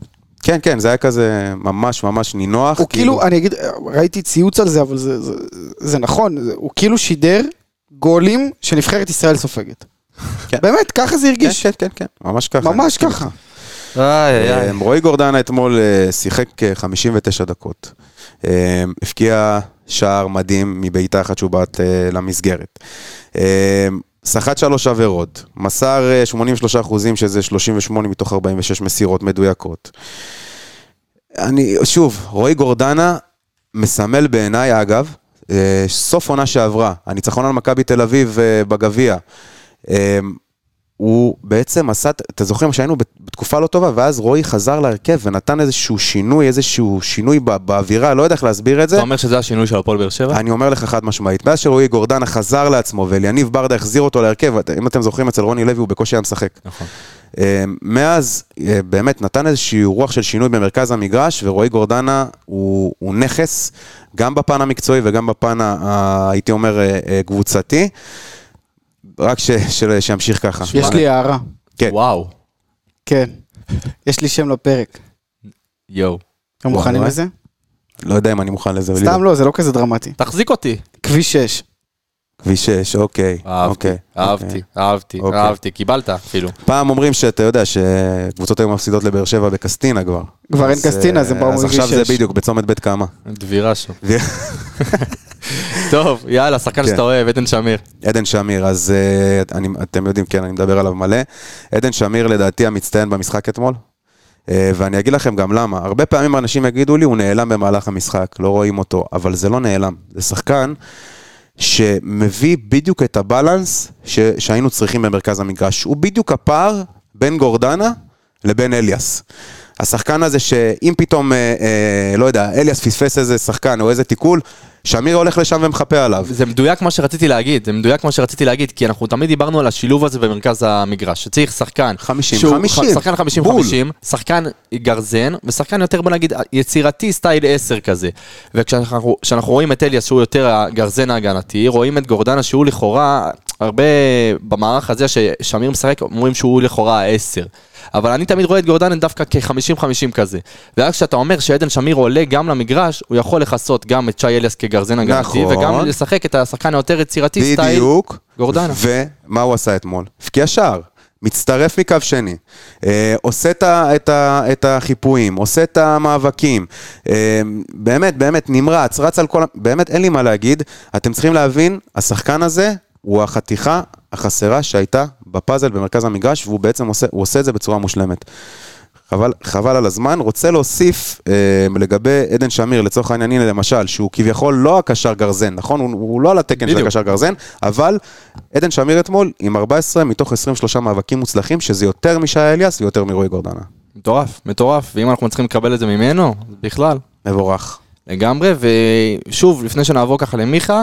Speaker 2: כן, כן, זה היה כזה ממש ממש נינוח.
Speaker 5: הוא כאילו, אני אגיד, ראיתי ציוץ על זה, אבל זה- זה- זה נכון, זה- הוא כאילו שידר גולים שנבחרת ישראל סופגת.
Speaker 2: כן.
Speaker 5: באמת, ככה זה
Speaker 2: כן,
Speaker 5: הרגיש.
Speaker 2: כן, כן, כן, ממש ככה.
Speaker 5: ממש ככה.
Speaker 1: איי,
Speaker 2: אה, רועי גורדנה אתמול אה, שיחק אה, 59 דקות. אה, הבקיע שער מדהים מבעיטה אחת שהוא בעט אה, למסגרת. אה, סחט שלוש עבירות, מסר אה, 83 אחוזים, שזה 38 מתוך 46 מסירות מדויקות. אני, שוב, רועי גורדנה מסמל בעיניי, אגב, אה, סוף עונה שעברה, הניצחון על מכבי תל אביב אה, בגביע. אה, הוא בעצם עשה, אתה זוכר שהיינו בת- בתקופה לא טובה, ואז רועי חזר להרכב ונתן איזשהו שינוי, איזשהו שינוי בא- באווירה, לא יודע איך להסביר את זה.
Speaker 1: אתה אומר שזה השינוי של הפועל באר
Speaker 5: אה?
Speaker 1: שבע?
Speaker 2: אני אומר לך חד משמעית, מאז שרועי גורדנה חזר לעצמו ואליניב ברדה החזיר אותו להרכב, את- אם אתם זוכרים, אצל רוני לוי הוא בקושי היה משחק.
Speaker 1: נכון.
Speaker 2: אה, מאז אה, באמת נתן איזושהי רוח של שינוי במרכז המגרש, ורועי גורדנה הוא, הוא נכס, גם בפן המקצועי וגם בפן, ה- ה- הייתי אומר, אה, אה, קבוצתי. רק ש, של, שימשיך ככה.
Speaker 5: יש לי הערה.
Speaker 2: כן.
Speaker 1: וואו.
Speaker 5: כן. יש לי שם לפרק.
Speaker 1: יואו.
Speaker 5: אתם
Speaker 2: וואו,
Speaker 5: מוכנים
Speaker 2: אה?
Speaker 5: לזה?
Speaker 2: לא יודע אם אני מוכן לזה. אבל
Speaker 5: סתם לא, זה לא כזה דרמטי.
Speaker 1: תחזיק אותי.
Speaker 5: כביש 6.
Speaker 2: כביש 6, אוקיי.
Speaker 1: אהבתי,
Speaker 2: אוקיי,
Speaker 1: אהבתי,
Speaker 2: אוקיי.
Speaker 1: אהבתי,
Speaker 2: אוקיי.
Speaker 1: אהבתי, קיבלת אפילו.
Speaker 2: פעם אומרים שאתה יודע שקבוצות היו מפסידות לבאר שבע בקסטינה כבר.
Speaker 5: כבר אין
Speaker 2: אז,
Speaker 5: קסטינה, זה
Speaker 2: אה,
Speaker 5: באו
Speaker 2: אז
Speaker 5: מגיל
Speaker 2: עכשיו זה
Speaker 5: שש.
Speaker 2: בדיוק, בצומת בית קמה.
Speaker 1: דבירה שם.
Speaker 2: דביר-
Speaker 1: טוב, יאללה, שחקן
Speaker 2: כן.
Speaker 1: שאתה אוהב, עדן שמיר.
Speaker 2: עדן שמיר, אז אה, אני, אתם יודעים, כן, אני מדבר עליו מלא. עדן שמיר לדעתי המצטיין במשחק אתמול. אה, ואני אגיד לכם גם למה. הרבה פעמים אנשים יגידו לי, הוא נעלם במהלך המשחק, לא רואים אותו, אבל זה לא נעלם. זה שחקן שמביא בדיוק את הבלנס ש, שהיינו צריכים במרכז המגרש. הוא בדיוק הפער בין גורדנה לבין אליאס. השחקן הזה שאם פתאום, אה, אה, לא יודע, אליאס פספס איזה שחקן או איזה תיקול, שמיר הולך לשם ומחפה עליו.
Speaker 1: זה מדויק מה שרציתי להגיד, זה מדויק מה שרציתי להגיד, כי אנחנו תמיד דיברנו על השילוב הזה במרכז המגרש, שצריך שחקן.
Speaker 2: 50,
Speaker 1: שהוא-
Speaker 2: 50,
Speaker 1: שחקן 50,
Speaker 2: בול.
Speaker 1: 50, שחקן גרזן, ושחקן יותר בוא נגיד יצירתי סטייל 10 כזה. וכשאנחנו כשאנחנו רואים את אליאס שהוא יותר הגרזן ההגנתי, רואים את גורדנה שהוא לכאורה, הרבה במערך הזה ששמיר משחק, אומרים שהוא לכאורה ה-10. אבל אני תמיד רואה את גורדנה דווקא כ-50-50 כזה. ואז כשאתה אומר שעדן שמיר עולה גם למגרש, הוא יכול לכסות גם את שי אליאס כגרזן הגנתי,
Speaker 2: נכון.
Speaker 1: וגם לשחק את השחקן היותר יצירתי סטייל.
Speaker 2: בדיוק.
Speaker 1: גורדנה.
Speaker 2: ומה הוא עשה אתמול? הבקיע שער. מצטרף מקו שני, אה, עושה את, ה, את, ה, את החיפויים, עושה את המאבקים, אה, באמת, באמת, נמרץ, רץ על כל ה... באמת, אין לי מה להגיד. אתם צריכים להבין, השחקן הזה הוא החתיכה החסרה שהייתה בפאזל במרכז המגרש, והוא בעצם עושה, הוא עושה את זה בצורה מושלמת. חבל, חבל על הזמן. רוצה להוסיף אה, לגבי עדן שמיר, לצורך העניין, הנה למשל, שהוא כביכול לא הקשר גרזן, נכון? הוא, הוא לא על התקן של
Speaker 1: בדיוק.
Speaker 2: הקשר גרזן, אבל עדן שמיר אתמול עם 14 מתוך 23 מאבקים מוצלחים, שזה יותר משי אליאס ויותר מרועי גורדנה.
Speaker 1: מטורף, מטורף, ואם אנחנו צריכים לקבל את זה ממנו, אז בכלל,
Speaker 2: מבורך.
Speaker 1: לגמרי, ושוב, לפני שנעבור ככה למיכה,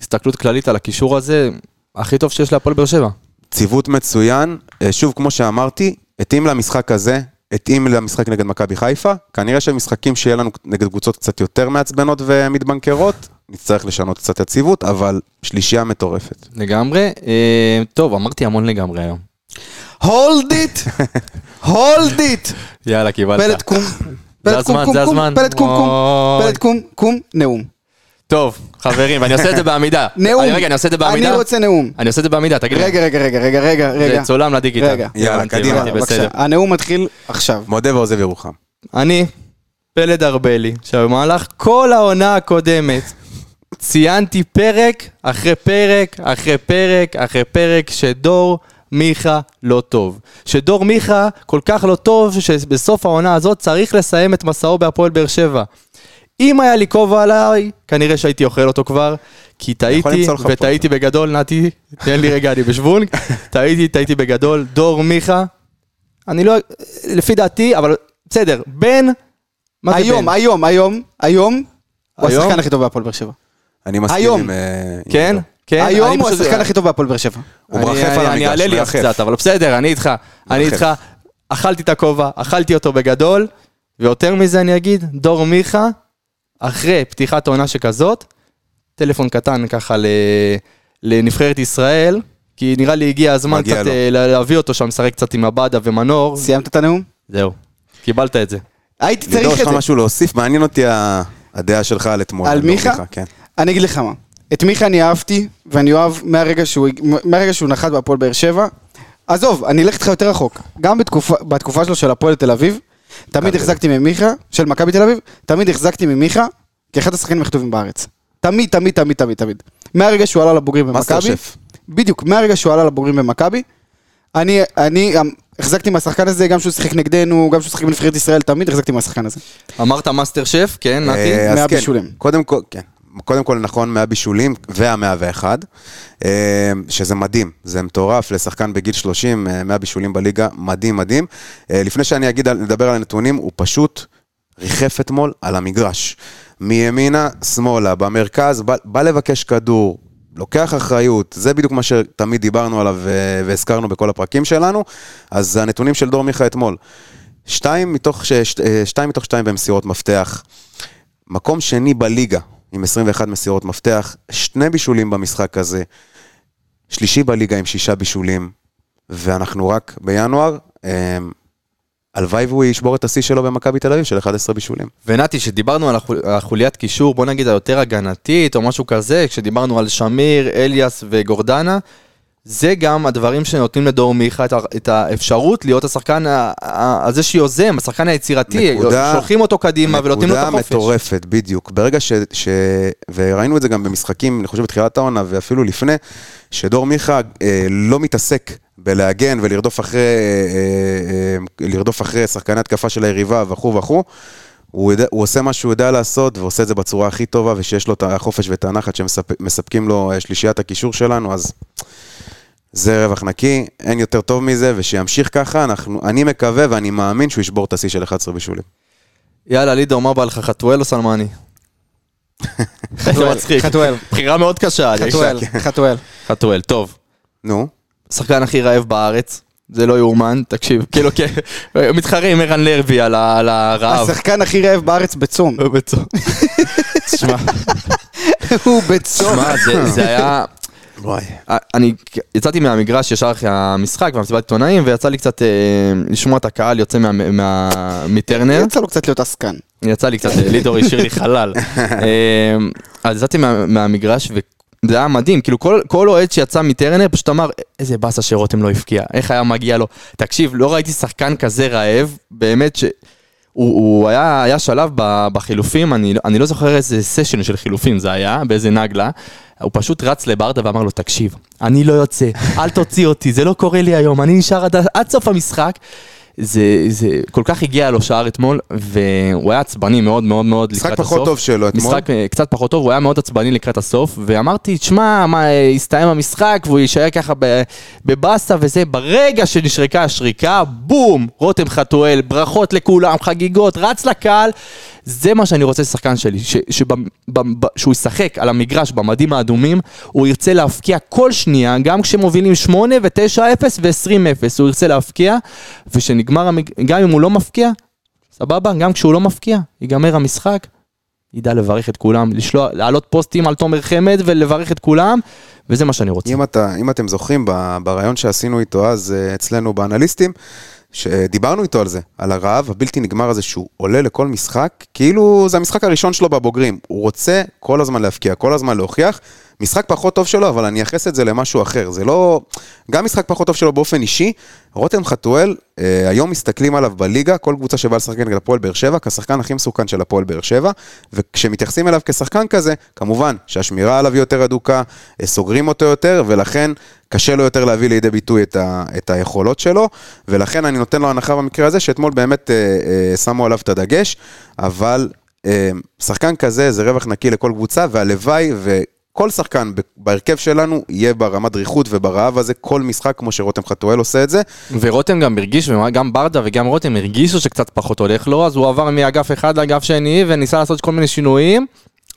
Speaker 1: הסתכלות כללית על הקישור הזה, הכי טוב שיש להפועל באר שבע.
Speaker 2: ציוות מצוין, אה, שוב, כמו שאמרתי, התאים למשחק הזה, התאים למשחק נגד מכבי חיפה, כנראה שמשחקים שיהיה לנו נגד קבוצות קצת יותר מעצבנות ומתבנקרות, נצטרך לשנות קצת את הציוות, אבל שלישייה מטורפת.
Speaker 1: לגמרי, אה, טוב, אמרתי המון לגמרי היום.
Speaker 5: הולד איט! הולד איט!
Speaker 1: יאללה, קיבלת.
Speaker 5: פלט קום.
Speaker 1: זה
Speaker 5: פלט קום
Speaker 1: הזמן,
Speaker 5: קום
Speaker 1: זה
Speaker 5: קום.
Speaker 1: הזמן.
Speaker 5: פלט קום קום.
Speaker 1: אוי.
Speaker 5: פלט קום קום. נאום.
Speaker 1: טוב, חברים, ואני עושה את זה בעמידה.
Speaker 5: נאום.
Speaker 1: אני- רגע, אני עושה את זה בעמידה?
Speaker 5: אני רוצה נאום.
Speaker 1: אני עושה את זה בעמידה, תגיד לי.
Speaker 5: רגע, רגע, רגע, רגע, רגע, רגע.
Speaker 1: זה צולם לדיגיטל.
Speaker 5: רגע.
Speaker 2: יאללה,
Speaker 1: הבנתי,
Speaker 2: קדימה,
Speaker 1: הבנתי,
Speaker 5: בבקשה.
Speaker 1: בסדר.
Speaker 5: הנאום מתחיל עכשיו.
Speaker 2: מודה ועוזב ירוחם.
Speaker 1: אני, פלד ארבלי, שבמהלך כל העונה הקודמת ציינתי פרק אחרי פרק אחרי פרק אחרי פרק שדור מיכה לא טוב. שדור מיכה כל כך לא טוב שבסוף העונה הזאת צריך לסיים את מסעו בהפועל באר שבע. אם היה לי כובע עליי, כנראה שהייתי אוכל אותו כבר, כי טעיתי,
Speaker 2: למצוא לך פה.
Speaker 1: וטעיתי בגדול, נתי, תן לי רגע, אני בשוונג, טעיתי, טעיתי בגדול, דור מיכה, אני לא, לפי דעתי, אבל בסדר, בן, מה זה
Speaker 5: היום,
Speaker 1: בן?
Speaker 5: היום, היום, היום, הוא
Speaker 1: היום?
Speaker 5: השחקן הכי טוב בהפועל באר שבע.
Speaker 2: אני מסכים
Speaker 5: היום.
Speaker 2: עם... אה, עם
Speaker 1: כן,
Speaker 2: עידו.
Speaker 1: כן, אני
Speaker 5: היום הוא
Speaker 1: פשוט-
Speaker 5: השחקן הכי טוב בהפועל באר שבע.
Speaker 2: הוא
Speaker 1: אני-
Speaker 2: מרחף
Speaker 1: אני- אני
Speaker 2: על המגרש,
Speaker 1: אעלה לי אף
Speaker 2: מרחף.
Speaker 1: קצת, אבל בסדר, אני איתך. אני
Speaker 2: מרחף.
Speaker 1: איתך, אכלתי את הכובע, אכלתי אותו בגדול, ויותר מזה אני אגיד, דור מיכה, אחרי פתיחת עונה שכזאת, טלפון קטן ככה ל- לנבחרת ישראל, כי נראה לי הגיע הזמן
Speaker 2: מגיע
Speaker 1: קצת
Speaker 2: לו.
Speaker 1: אה, לה- להביא אותו שם, לשחק קצת עם עבדה ומנור.
Speaker 5: סיימת את הנאום?
Speaker 1: זהו, קיבלת את זה.
Speaker 5: הייתי
Speaker 2: לידור,
Speaker 5: צריך
Speaker 2: יש
Speaker 5: את
Speaker 2: לך
Speaker 5: זה.
Speaker 2: משהו להוסיף? מעניין אותי ה- הדעה שלך על אתמול.
Speaker 5: על
Speaker 2: לידור
Speaker 5: מיכה?
Speaker 2: כן.
Speaker 5: אני אגיד לך מה. את מיכה אני אהבתי, ואני אוהב מהרגע שהוא, מהרגע שהוא נחת בהפועל באר שבע. עזוב, אני אלך איתך יותר רחוק. גם בתקופה, בתקופה שלו של הפועל תל אביב, תמיד החזקתי ממיכה, של מכבי תל אביב, תמיד החזקתי ממיכה כאחד השחקנים הכי טובים בארץ. תמיד, תמיד, תמיד, תמיד, תמיד. מהרגע שהוא עלה לבוגרים
Speaker 2: מאסטר
Speaker 5: במכבי,
Speaker 2: שף.
Speaker 5: בדיוק, מהרגע שהוא עלה לבוגרים במכבי, אני, אני גם החזקתי מהשחקן הזה, גם שהוא שיחק נגדנו, גם שהוא שיחק בנבחרת ישראל, תמיד החזקתי מהשחקן הזה.
Speaker 1: אמרת מאסטר שף, כן, נתי?
Speaker 2: אה, אז כן,
Speaker 5: מהבישולים.
Speaker 2: קודם כל, כן. קודם כל נכון, מהבישולים והמאה ואחד, אה, שזה מדהים, זה מטורף לשחקן בגיל 30, אה, מהבישולים בליגה, מדהים מדהים. אה, לפני שאני אגיד, על- נדבר על הנתונים, הוא פשוט ריחף אתמול על המגרש. מימינה, שמאלה, במרכז, בא, בא לבקש כדור, לוקח אחריות, זה בדיוק מה שתמיד דיברנו עליו אה, והזכרנו בכל הפרקים שלנו. אז הנתונים של דור מיכה אתמול, שתיים מתוך, ש... ש- אה, שתיים מתוך שתיים במסירות מפתח, מקום שני בליגה עם 21 מסירות מפתח, שני בישולים במשחק הזה, שלישי בליגה עם שישה בישולים, ואנחנו רק בינואר. אה, הלוואי והוא ישבור את השיא שלו במכבי תל אביב של 11 בישולים.
Speaker 1: ונתי, שדיברנו על החול- על החוליית קישור, בוא נגיד היותר הגנתית או משהו כזה, כשדיברנו על שמיר, אליאס וגורדנה, זה גם הדברים שנותנים לדור מיכה את, ה- את האפשרות להיות השחקן ה- ה- הזה שיוזם, השחקן היצירתי,
Speaker 2: נקודה-
Speaker 1: שולחים אותו קדימה ונותנים לו את
Speaker 2: נקודה
Speaker 1: החופש.
Speaker 2: מטורפת, בדיוק. ברגע ש, ש... וראינו את זה גם במשחקים, אני חושב בתחילת העונה ואפילו לפני, שדור מיכה אה, לא מתעסק בלהגן ולרדוף אחרי, אה, אה, אה, לרדוף אחרי שחקני התקפה של היריבה וכו' וכו'. הוא, יודע, הוא עושה מה שהוא יודע לעשות, ועושה את זה בצורה הכי טובה, ושיש לו את החופש ואת הנחת שמספקים לו אה, שלישיית הקישור שלנו, אז זה רווח נקי, אין יותר טוב מזה, ושימשיך ככה, אנחנו, אני מקווה ואני מאמין שהוא ישבור את השיא של 11 בישולים.
Speaker 1: יאללה, לידור, מה בא לך, חתואל או סלמני? זה מצחיק.
Speaker 5: חתואל.
Speaker 1: בחירה מאוד קשה. אני-
Speaker 5: חתואל, כן. חתואל.
Speaker 1: חתואל, טוב.
Speaker 2: נו.
Speaker 1: השחקן הכי רעב בארץ, זה לא יאומן, תקשיב, כאילו, כן, מתחרה עם ערן לרבי על ה- על הרעב.
Speaker 5: השחקן הכי רעב בארץ בצום.
Speaker 1: הוא בצום. תשמע,
Speaker 5: הוא בצום.
Speaker 1: תשמע, זה- זה היה... אה,
Speaker 2: וואי.
Speaker 1: אני יצאתי מהמגרש ישר אחרי המשחק והמסיבת עיתונאים, ויצא לי קצת אה, לשמוע את הקהל יוצא מה- מה- מטרנר.
Speaker 5: יצא לו קצת להיות עסקן.
Speaker 1: יצא לי קצת, לידור השאיר לי חלל. אה, אז יצאתי מה- מהמגרש וזה היה מדהים, כאילו כל- כל אוהד שיצא מטרנר פשוט אמר, איזה באסה שרותם לא הבקיע, איך היה מגיע לו. תקשיב, לא ראיתי שחקן כזה רעב, באמת ש... הוא, הוא היה, היה שלב ב- בחילופים, אני, לא- אני לא זוכר איזה סשן של חילופים זה היה, באיזה נגלה. הוא פשוט רץ לברדה ואמר לו, תקשיב, אני לא יוצא, אל תוציא אותי, זה לא קורה לי היום, אני נשאר עד, עד סוף המשחק. זה, זה כל כך הגיע לו שער אתמול, והוא היה עצבני מאוד מאוד מאוד
Speaker 2: משחק
Speaker 1: לקראת הסוף.
Speaker 2: פחות טוב שלו אתמול.
Speaker 1: משחק אה, קצת פחות טוב, הוא היה מאוד עצבני לקראת הסוף, ואמרתי, תשמע, מה, אה, יסתיים המשחק, והוא יישאר ככה ב- בבאסה וזה, ברגע שנשרקה השריקה, בום, רותם חתואל, ברכות לכולם, חגיגות, רץ לקהל. זה מה שאני רוצה לשחקן שלי, ש- שבמ- במ- ב- שהוא ישחק על המגרש במדים האדומים, הוא ירצה להבקיע כל שנייה, גם כשמובילים 8 ו-9-0 ו-20-0, הוא ירצה להבקיע, ושנגמר, המג... גם אם הוא לא מפקיע, סבבה, גם כשהוא לא מפקיע, ייגמר המשחק, ידע לברך את כולם, לשלוח, להעלות פוסטים על תומר חמד ולברך את כולם, וזה מה שאני רוצה.
Speaker 2: אם, אתה, אם אתם זוכרים, ב- בריאיון שעשינו איתו אז אה, אצלנו באנליסטים, שדיברנו איתו על זה, על הרעב הבלתי נגמר הזה שהוא עולה לכל משחק, כאילו זה המשחק הראשון שלו בבוגרים. הוא רוצה כל הזמן להבקיע, כל הזמן להוכיח. משחק פחות טוב שלו, אבל אני אייחס את זה למשהו אחר. זה לא... גם משחק פחות טוב שלו באופן אישי, רותם חתואל, אה, היום מסתכלים עליו בליגה, כל קבוצה שבאה לשחק נגד הפועל באר שבע, כשחקן הכי מסוכן של הפועל באר שבע, וכשמתייחסים אליו כשחקן כזה, כמובן שהשמירה עליו היא יותר הדוקה, אה, סוגרים אותו יותר, ולכן קשה לו יותר להביא לידי ביטוי את, ה, את היכולות שלו, ולכן אני נותן לו הנחה במקרה הזה, שאתמול באמת אה, אה, שמו עליו את הדגש, אבל אה, שחקן כזה זה רווח נקי לכל קבוצה, והלוואי, ו... כל שחקן ב- בהרכב שלנו יהיה ברמת דריכות וברעב הזה כל משחק, כמו שרותם חתואל עושה את זה.
Speaker 1: ורותם גם הרגיש, וגם ברדה וגם רותם הרגישו שקצת פחות הולך לו, אז הוא עבר מאגף אחד לאגף שני וניסה לעשות כל מיני שינויים.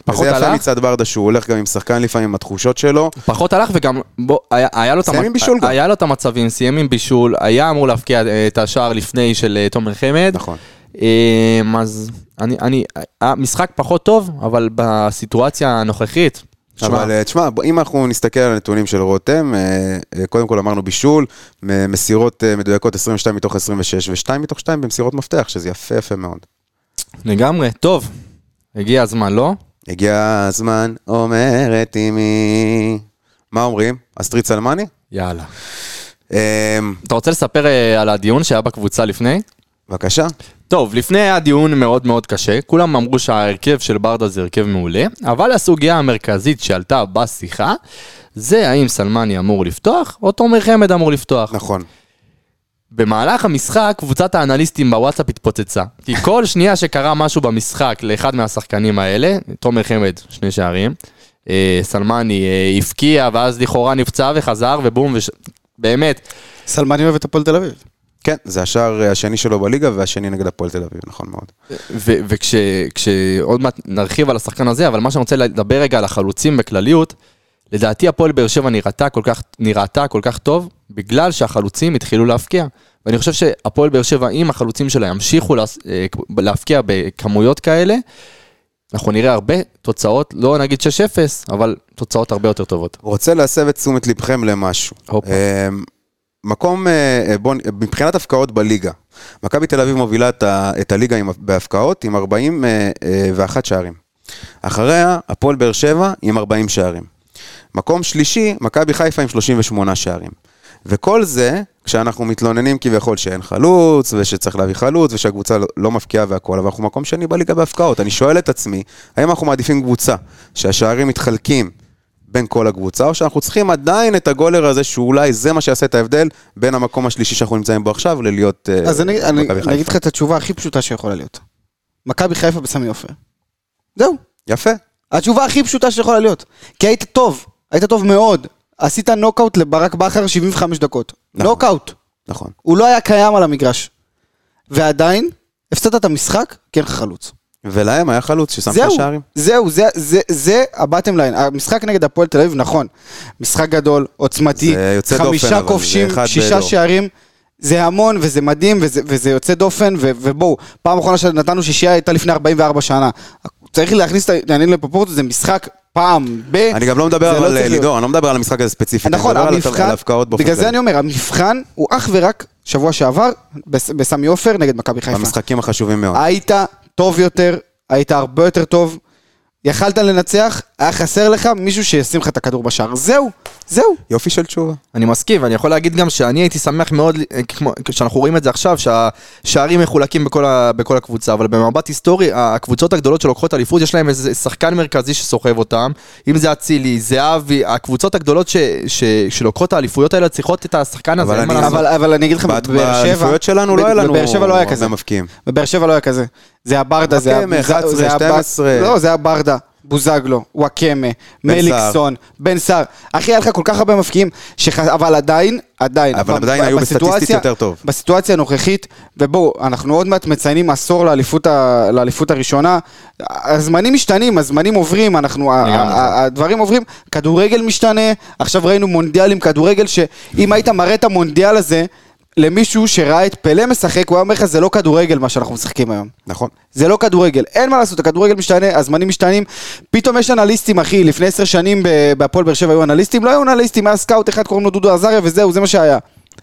Speaker 1: פחות
Speaker 2: וזה יפה
Speaker 1: הלך,
Speaker 2: מצד ברדה שהוא הולך גם עם שחקן לפעמים, עם התחושות שלו.
Speaker 1: פחות הלך וגם בוא, היה, היה, לו את
Speaker 2: סיים
Speaker 1: המ-
Speaker 2: עם בישול גם.
Speaker 1: היה לו את המצבים, סיים עם בישול, היה אמור להבקיע אה, את השער לפני של אה, תומר חמד.
Speaker 2: נכון.
Speaker 1: אמ, אז אני, אני, המשחק פחות טוב, אבל בסיטואציה הנוכחית,
Speaker 2: אבל אה, תשמע, ב- אם אנחנו נסתכל על הנתונים של רותם, אה, אה, קודם כל אמרנו בישול, מ- מסירות אה, מדויקות 22 מתוך 26 ו-2 מתוך 2 במסירות מפתח, שזה יפה יפה מאוד.
Speaker 1: לגמרי, טוב, הגיע הזמן, לא?
Speaker 2: הגיע הזמן, אומרת אמי. מה אומרים? אסטרית סלמני?
Speaker 1: יאללה.
Speaker 2: אה,
Speaker 1: אתה רוצה לספר אה, על הדיון שהיה בקבוצה לפני?
Speaker 2: בבקשה.
Speaker 1: טוב, לפני היה דיון מאוד מאוד קשה, כולם אמרו שההרכב של ברדה זה הרכב מעולה, אבל הסוגיה המרכזית שעלתה בשיחה, זה האם סלמני אמור לפתוח, או תומר חמד אמור לפתוח.
Speaker 2: נכון.
Speaker 1: במהלך המשחק, קבוצת האנליסטים בוואטסאפ התפוצצה. כי כל שנייה שקרה משהו במשחק לאחד מהשחקנים האלה, תומר חמד, שני שערים, אה, סלמני אה, הבקיע, ואז לכאורה נפצע וחזר, ובום, וש... באמת,
Speaker 5: סלמני אוהב את הפועל תל אביב.
Speaker 2: כן, זה השער אה, השני שלו בליגה והשני נגד הפועל תל אביב, נכון מאוד.
Speaker 1: ו- וכש... כש- עוד מעט נרחיב על השחקן הזה, אבל מה שאני רוצה לדבר רגע על החלוצים בכלליות, לדעתי הפועל באר שבע נראתה כל כך, נראתה כל כך טוב, בגלל שהחלוצים התחילו להבקיע. ואני חושב שהפועל באר שבע, אם החלוצים שלה ימשיכו לה, אה, להבקיע בכמויות כאלה, אנחנו נראה הרבה תוצאות, לא נגיד 6-0, אבל תוצאות הרבה יותר טובות.
Speaker 2: רוצה להסב את תשומת לבכם למשהו.
Speaker 1: הופה.
Speaker 2: אמ, מקום, אה, אה, בוא, נ- מבחינת הפקעות בליגה, מכבי תל אביב מובילה את, ה, את הליגה עם, בהפקעות עם 41 שערים. אחריה, הפועל באר שבע עם 40 שערים. מקום שלישי, מכבי חיפה עם 38 שערים. וכל זה, כשאנחנו מתלוננים כביכול שאין חלוץ, ושצריך להביא חלוץ, ושהקבוצה לא- לא מפקיעה והכול, אבל אנחנו מקום שני בליגה בהפקעות. אני שואל את עצמי, האם אנחנו מעדיפים קבוצה שהשערים מתחלקים בין כל הקבוצה, או שאנחנו צריכים עדיין את הגולר הזה, שאולי זה מה שיעשה את ההבדל בין המקום השלישי שאנחנו נמצאים בו עכשיו, ללהיות אה,
Speaker 5: אז אני אני-
Speaker 2: מכבי
Speaker 5: אני אגיד
Speaker 2: חיפה.
Speaker 5: לך את התשובה הכי פשוטה שיכולה להיות. מכבי חיפה בסמי עופר. זהו.
Speaker 2: יפה.
Speaker 5: התשובה הכי פשוטה שיכולה להיות. כי היית טוב, היית טוב מאוד. עשית נוקאוט לברק בכר 75 דקות.
Speaker 2: נכון.
Speaker 5: נוקאוט.
Speaker 2: נכון.
Speaker 5: הוא לא היה קיים על המגרש. ועדיין, הפסדת את המשחק, כי אין לך חלוץ.
Speaker 2: ולהם היה חלוץ ששם את
Speaker 5: זהו,
Speaker 2: השערים.
Speaker 5: זהו, זה, זה, זה הבטם ליין. המשחק נגד הפועל תל אביב, נכון. משחק גדול, עוצמתי,
Speaker 2: זה יוצא דופן,
Speaker 5: חמישה
Speaker 2: אבל זה
Speaker 5: כובשים,
Speaker 2: אחד
Speaker 5: שישה
Speaker 2: באלוה.
Speaker 5: שערים. זה המון, וזה מדהים, וזה, וזה יוצא דופן, ו, ובואו, פעם אחרונה שנתנו שישייה הייתה לפני 44 שנה. צריך להכניס את העניינים לפרופורציות, זה משחק פעם ב...
Speaker 2: אני גם לא מדבר
Speaker 5: זה לא
Speaker 2: אבל,
Speaker 5: צריך
Speaker 2: אה,
Speaker 5: להיות.
Speaker 2: לידור, אני לא מדבר על המשחק הזה ספציפית. אני
Speaker 5: נכון,
Speaker 2: מדבר על הת-
Speaker 5: המבחן,
Speaker 2: על ההפקעות באופן
Speaker 5: בגלל זה
Speaker 2: כללי.
Speaker 5: אני אומר, המבחן הוא אך ורק שבוע שעבר בס- בסמי עופר נגד מכבי חיפה.
Speaker 2: במשחקים החשובים מאוד.
Speaker 5: היית טוב יותר, היית הרבה יותר טוב, יכלת לנצח, היה חסר לך מישהו שישים לך את הכדור בשער. זהו, זהו.
Speaker 2: יופי של תשובה.
Speaker 1: אני מסכים, ואני יכול להגיד גם שאני הייתי שמח מאוד, אה, כמו, כשאנחנו רואים את זה עכשיו, שהשערים מחולקים בכל, ה, בכל הקבוצה, אבל במבט היסטורי, הקבוצות הגדולות שלוקחות אליפות, יש להם איזה שחקן מרכזי שסוחב אותם, אם זה אצילי, זהבי, הקבוצות הגדולות ש, ש, שלוקחות את האליפויות האלה צריכות את השחקן הזה,
Speaker 2: אבל
Speaker 1: אין מה
Speaker 2: אני-
Speaker 1: לעשות.
Speaker 5: אבל, אבל אני אגיד לך,
Speaker 2: בת-
Speaker 5: בבאר שבע...
Speaker 2: באליפויות שלנו לא
Speaker 5: בדיוק,
Speaker 2: היה לנו
Speaker 5: בבאר שבע לא היה
Speaker 2: הרבה
Speaker 5: כזה.
Speaker 2: מבקיעים.
Speaker 5: בבאר שבע לא היה כזה. זה הברדה, זה
Speaker 2: וואקמה, 11,
Speaker 5: זה הב-
Speaker 2: 12.
Speaker 5: לא, זה הברדה. בוזגלו, וואקמה,
Speaker 2: בן
Speaker 5: מליקסון, בן סער. אחי, היה לך כל כך הרבה מפקיעים, שח... אבל עדיין, עדיין.
Speaker 2: אבל
Speaker 5: ב-
Speaker 2: עדיין
Speaker 5: ב-
Speaker 2: היו
Speaker 5: בסיטואציה-
Speaker 2: בסטטיסטית יותר טוב.
Speaker 5: בסיטואציה הנוכחית, ובואו, אנחנו עוד מעט מציינים עשור לאליפות, ה... לאליפות הראשונה. הזמנים משתנים, הזמנים עוברים, אנחנו, ה-
Speaker 1: לגמרי.
Speaker 5: ה- הדברים עוברים, כדורגל משתנה, עכשיו ראינו מונדיאל עם כדורגל, שאם היית מראה את המונדיאל הזה למישהו שראה את פלא משחק, הוא היה אומר לך, זה לא כדורגל מה שאנחנו משחקים היום.
Speaker 2: נכון.
Speaker 5: זה לא כדורגל, אין מה לעשות, הכדורגל משתנה, הזמנים משתנים. פתאום יש אנליסטים, אחי, לפני עשר שנים ב- בהפועל באר שבע היו אנליסטים, לא היו אנליסטים, היה סקאוט אחד, קוראים לו דודו עזריה, וזהו, זה מה שהיה.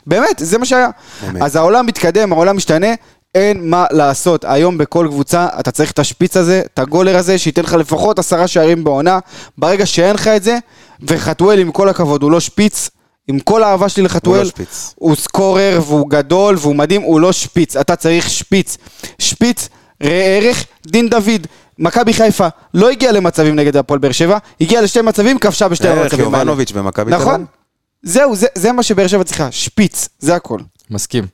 Speaker 5: באמת, זה מה שהיה.
Speaker 2: באמת.
Speaker 5: אז העולם מתקדם, העולם משתנה, אין מה לעשות. היום בכל קבוצה אתה צריך את השפיץ הזה, את הגולר הזה, שייתן לך לפחות עשרה שערים בעונה. ברגע שאין לך את זה, וחתואל, עם כל הכבוד, הוא לא שפיץ. עם כל האהבה שלי לחתואל,
Speaker 2: לא שפיץ.
Speaker 5: הוא סקורר והוא גדול והוא מדהים, הוא לא שפיץ, אתה צריך שפיץ. שפיץ, ראה ערך, דין דוד. מכבי חיפה לא הגיעה למצבים נגד הפועל באר שבע, הגיעה לשתי מצבים, כבשה בשתי
Speaker 2: ראה ערך,
Speaker 5: המצבים האלה.
Speaker 2: יובנוביץ' במכבי תל
Speaker 5: נכון.
Speaker 2: אביב.
Speaker 5: זהו, זה, זה מה שבאר שבע צריכה, שפיץ, זה הכל.
Speaker 1: מסכים.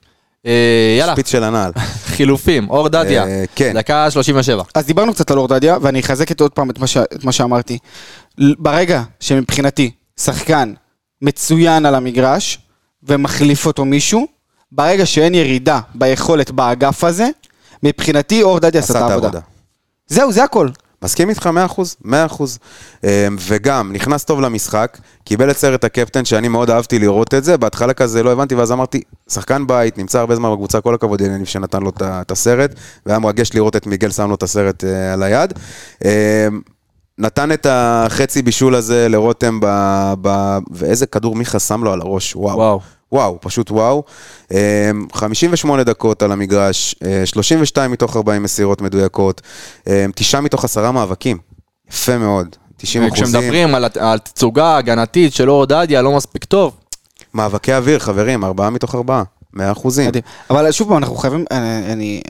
Speaker 1: אה, יאללה,
Speaker 2: שפיץ של הנעל.
Speaker 1: חילופים, אור דדיה.
Speaker 2: אה, כן.
Speaker 1: דקה 37.
Speaker 5: אז דיברנו קצת על אורדדיה, ואני אחזק את עוד פעם את מה, ש... את מה שאמרתי. ל- ברגע שמבחינתי שחקן מצוין על המגרש, ומחליף אותו מישהו, ברגע שאין ירידה ביכולת באגף הזה, מבחינתי אורדדיה עשה את העבודה. זהו, זה הכל.
Speaker 2: מסכים איתך 100%, 100%. אה, וגם, נכנס טוב למשחק, קיבל את סרט הקפטן, שאני מאוד אהבתי לראות את זה, בהתחלה כזה לא הבנתי, ואז אמרתי, שחקן בית, נמצא הרבה זמן בקבוצה, כל הכבוד יניב שנתן לו את ה- את הסרט, והיה מרגש לראות את מיגל שם לו את הסרט אה, על היד. אה, נתן את החצי בישול הזה לרותם ב... ב... ואיזה כדור מיכה שם לו על הראש, וואו.
Speaker 1: וואו.
Speaker 2: וואו, פשוט וואו. אה, 58 דקות על המגרש, אה, 32 מתוך 40 מסירות מדויקות, אה, תשעה מתוך עשרה מאבקים. יפה מאוד, 90 אחוזים.
Speaker 1: כשמדברים על הת- על תצוגה הגנתית של אור דדיה לא מספיק טוב,
Speaker 2: מאבקי אוויר, חברים, ארבעה מתוך ארבעה, 100 אחוזים.
Speaker 5: מדהים. אבל שוב פעם, אנחנו חייבים, אני, אני,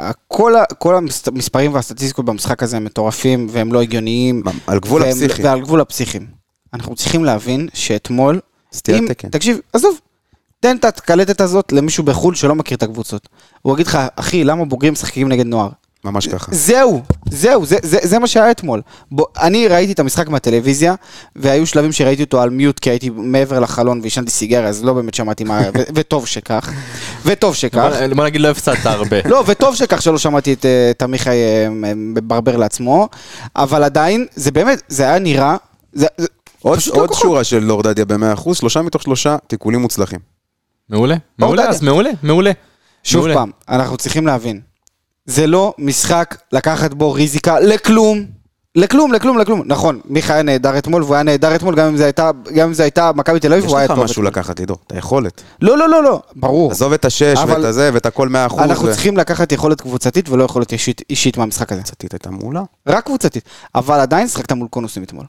Speaker 5: אה, כל, ה- כל המספרים והסטטיסטיקות במשחק הזה הם מטורפים, והם לא הגיוניים.
Speaker 2: על גבול
Speaker 5: והם-
Speaker 2: הפסיכי.
Speaker 5: ועל גבול הפסיכיים. אנחנו צריכים להבין שאתמול...
Speaker 2: סטיית
Speaker 5: אם-
Speaker 2: תקן.
Speaker 5: תקשיב, עזוב. תן את הקלטת הזאת למישהו בחו"ל שלא מכיר את הקבוצות. הוא יגיד לך, אחי, למה בוגרים משחקים נגד נוער?
Speaker 2: ממש ככה.
Speaker 5: זהו, זהו, זה, זה, זה מה שהיה אתמול. בוא, אני ראיתי את המשחק מהטלוויזיה, והיו שלבים שראיתי אותו על מיוט, כי הייתי מעבר לחלון ועישנתי סיגריה, אז לא באמת שמעתי מה... ו- וטוב שכך. וטוב שכך.
Speaker 1: בוא בוא נגיד לא הפסדת הרבה.
Speaker 5: לא, וטוב שכך שלא שמעתי את, אה, את עמיחי אה, מברבר לעצמו, אבל עדיין, זה באמת, זה היה נראה... זה, זה,
Speaker 2: עוד,
Speaker 5: פשוט לא
Speaker 2: עוד
Speaker 5: כוחות.
Speaker 2: שורה של לורדדיה ב-100 אחוז, שלושה מתוך שלושה תיקולים מוצלחים.
Speaker 1: מעולה, מעולה,
Speaker 5: דדיה.
Speaker 1: אז מעולה, מעולה.
Speaker 5: שוב
Speaker 1: מעולה.
Speaker 5: פעם, אנחנו צריכים להבין, זה לא משחק לקחת בו ריזיקה לכלום. לכלום, לכלום, לכלום. נכון, מיכה היה נהדר אתמול, והוא היה נהדר אתמול, גם אם זה הייתה, גם אם זה הייתה מכבי תל אביב,
Speaker 2: יש
Speaker 5: הוא היה
Speaker 2: לך
Speaker 5: טוב.
Speaker 2: משהו
Speaker 5: אתמול.
Speaker 2: לקחת, לידו, את היכולת.
Speaker 5: לא, לא, לא, לא, ברור.
Speaker 2: עזוב את השש
Speaker 5: אבל-
Speaker 2: ואת הזה ואת הכל 100 אחוז.
Speaker 5: אנחנו
Speaker 2: ו-
Speaker 5: צריכים לקחת יכולת קבוצתית ולא יכולת אישית, אישית מהמשחק הזה.
Speaker 2: קבוצתית הייתה מעולה.
Speaker 5: רק קבוצתית. אבל עדיין שיחקת מול קונוסים אתמול.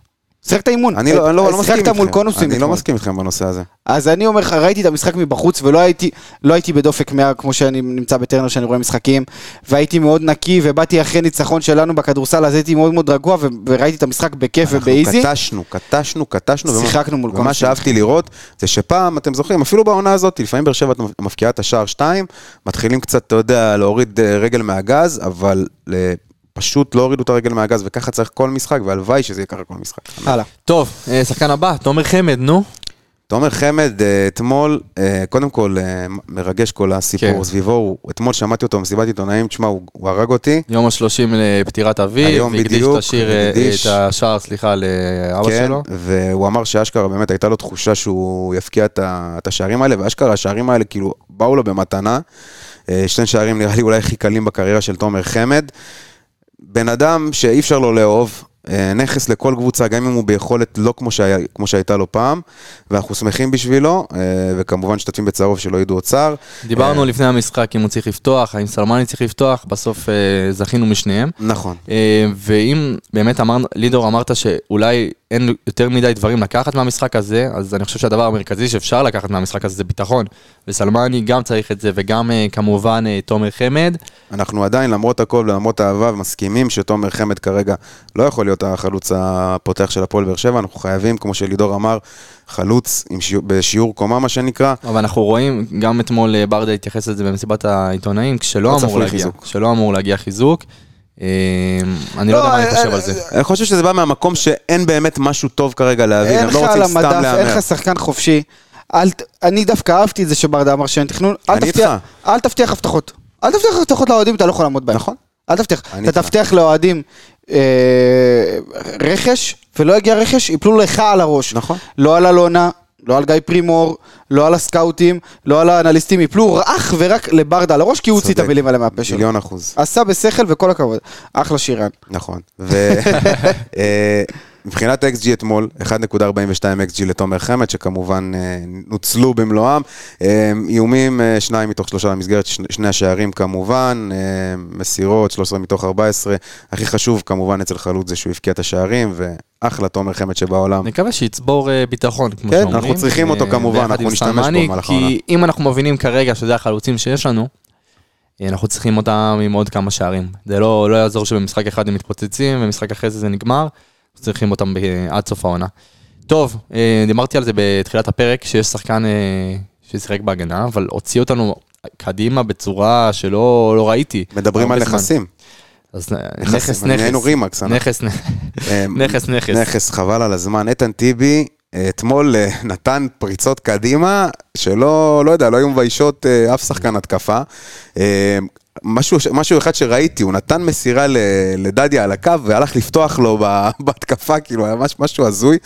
Speaker 5: שיחקת אימון.
Speaker 2: אני לא, אני לא, לא מסכים איתכם.
Speaker 5: שיחקת מול קונוסים
Speaker 2: אני לא
Speaker 5: אתמול.
Speaker 2: מסכים איתכם בנושא הזה.
Speaker 5: אז אני אומר לך, ראיתי את המשחק מבחוץ ולא הייתי, לא הייתי בדופק 100 כמו שאני נמצא בטרנר שאני רואה משחקים והייתי מאוד נקי ובאתי אחרי ניצחון שלנו בכדורסל אז הייתי מאוד מאוד רגוע ו- וראיתי את המשחק בכיף ובאיזי.
Speaker 2: אנחנו קטשנו, קטשנו, קטשנו. ומה-
Speaker 5: שיחקנו מול
Speaker 2: ומה
Speaker 5: קונסים.
Speaker 2: שאהבתי לראות, זה שפעם, אתם זוכרים, אפילו בעונה הזאת, לפעמים באר שבע מפקיעה את השער 2, מתחילים קצת, אתה יודע, להוריד אה, רגל מהגז, אבל אה, פשוט לא הורידו את הרגל מהגז, וככה צריך כל משחק, והלוואי שזה יהיה ככה כל משחק.
Speaker 5: הלאה.
Speaker 1: טוב, אה, שחקן הבא, תומר חמד, נו.
Speaker 2: תומר חמד, אה, אתמול, אה, קודם כל, אה, מרגש כל
Speaker 1: כן.
Speaker 2: הסיפור סביבו, הוא- אתמול שמעתי אותו במסיבת עיתונאים, תשמע, הוא הוא הרג אותי.
Speaker 1: יום השלושים לפטירת אביו,
Speaker 2: היום
Speaker 1: והקדיש
Speaker 2: בדיוק,
Speaker 1: את השיר, אה,
Speaker 2: הקדיש.
Speaker 1: את השער, סליחה, לאבא
Speaker 2: כן,
Speaker 1: שלו.
Speaker 2: והוא אמר שאשכרה באמת הייתה לו תחושה שהוא יפקיע את, ה, את השערים האלה, ואשכרה השערים האלה כאילו באו לו במתנה. אה, שני שערים נראה לי אולי הכי קלים בקריירה של תומר חמד. בן אדם שאי אפשר לו לאהוב, אה, נכס לכל קבוצה, גם אם הוא ביכולת לא כמו, שהיה, כמו שהייתה לו פעם, ואנחנו שמחים בשבילו, אה, וכמובן שותפים בצהוב שלא ידעו עוד צער. אה.
Speaker 1: דיברנו לפני המשחק אם הוא צריך לפתוח, האם סלמני צריך לפתוח, בסוף אה, זכינו משניהם.
Speaker 2: נכון.
Speaker 1: אה, ואם באמת אמרנו, לידור אמרת שאולי אין יותר מדי דברים לקחת מהמשחק הזה, אז אני חושב שהדבר המרכזי שאפשר לקחת מהמשחק הזה זה ביטחון. וסלמני גם צריך את זה, וגם אה, כמובן אה, תומר חמד.
Speaker 2: אנחנו עדיין, למרות הכל ולמרות האהבה, מסכימים שתומר חמד כרגע לא יכול להיות החלוץ הפותח של הפועל באר שבע. אנחנו חייבים, כמו שלידור אמר, חלוץ עם שיעור, בשיעור קומה, מה שנקרא.
Speaker 1: אבל אנחנו רואים, גם אתמול אה, ברדה התייחס לזה במסיבת העיתונאים, כשלא
Speaker 2: לא צפוי
Speaker 1: אמור להגיע,
Speaker 2: חיזוק.
Speaker 1: כשלא אמור להגיע חיזוק. אה, אני לא יודע מה אני
Speaker 2: אה,
Speaker 5: אה,
Speaker 1: חושב על זה.
Speaker 2: אני חושב שזה בא מהמקום שאין באמת משהו טוב כרגע להביא,
Speaker 5: אין
Speaker 2: הם
Speaker 5: לך
Speaker 2: לא
Speaker 5: על
Speaker 2: רוצים סתם
Speaker 5: המדף, אין
Speaker 2: להמר.
Speaker 5: לך שחקן חופשי. אל, ת- אני דווקא אהבתי את זה שברדה אמר שאין תכנון. אל
Speaker 2: אני
Speaker 5: תבטיח,
Speaker 2: איתך.
Speaker 5: אל תבטיח הבטחות. אל תבטיח הבטחות לאוהדים, אתה לא יכול לעמוד בהן.
Speaker 2: נכון.
Speaker 5: אל תבטיח.
Speaker 2: אני
Speaker 5: אתה
Speaker 2: איתך.
Speaker 5: תבטיח לאוהדים אה, רכש, ולא יגיע רכש, יפלו לך על הראש.
Speaker 2: נכון.
Speaker 5: לא על אלונה, לא על גיא פרימור, לא על הסקאוטים, לא על האנליסטים, יפלו אך ורק לברדה על הראש, כי הוא הוציא את
Speaker 2: צודק.
Speaker 5: המילים האלה מהפה שלו.
Speaker 2: מיליון אחוז.
Speaker 5: עשה בשכל וכל הכבוד. אחלה שירן.
Speaker 2: נכון. ו... אה, מבחינת XG אתמול, 1.42 XG לתומר חמד, שכמובן אה, נוצלו במלואם. אה, איומים, אה, שניים מתוך שלושה במסגרת, שני- שני השערים כמובן, אה, מסירות, 13 מתוך 14. הכי חשוב כמובן אצל חלוץ זה שהוא הבקיע את השערים, ואחלה תומר חמד שבעולם.
Speaker 1: נקווה שיצבור אה, ביטחון, כמו
Speaker 2: כן,
Speaker 1: שאומרים.
Speaker 2: אנחנו צריכים אותו
Speaker 1: אה,
Speaker 2: כמובן,
Speaker 1: ביחד
Speaker 2: אנחנו
Speaker 1: עם
Speaker 2: נשתמש בו
Speaker 1: סלמני,
Speaker 2: במהלך העונה.
Speaker 1: כי אם אנחנו מבינים כרגע שזה החלוצים שיש לנו, אה, אנחנו צריכים אותם עם עוד כמה שערים. זה לא לא יעזור שבמשחק אחד הם מתפוצצים, ומשחק אחרי זה זה נגמר, אנחנו צריכים אותם ב- אה, עד סוף העונה. טוב, אה, דיברתי על זה בתחילת הפרק, שיש שחקן אה, ששיחק בהגנה, אבל הוציא אותנו קדימה בצורה שלא לא ראיתי.
Speaker 2: מדברים
Speaker 1: הרבה
Speaker 2: על
Speaker 1: זמן.
Speaker 2: נכסים.
Speaker 1: אז אה,
Speaker 2: נכסים,
Speaker 1: נכס,
Speaker 2: אבל נהיינו
Speaker 1: נכס.
Speaker 2: רימקס, אנחנו.
Speaker 1: נכס, נכס,
Speaker 2: אה,
Speaker 1: נכס, נכס.
Speaker 2: נכס, חבל על הזמן. איתן טיבי אה, אתמול אה, נתן פריצות קדימה, שלא, לא יודע, לא היו מביישות אה, אף שחקן התקפה. אה, משהו, משהו אחד שראיתי, הוא נתן מסירה ל- לדדיה על הקו והלך לפתוח לו ב- בהתקפה, כאילו היה מש- משהו הזוי.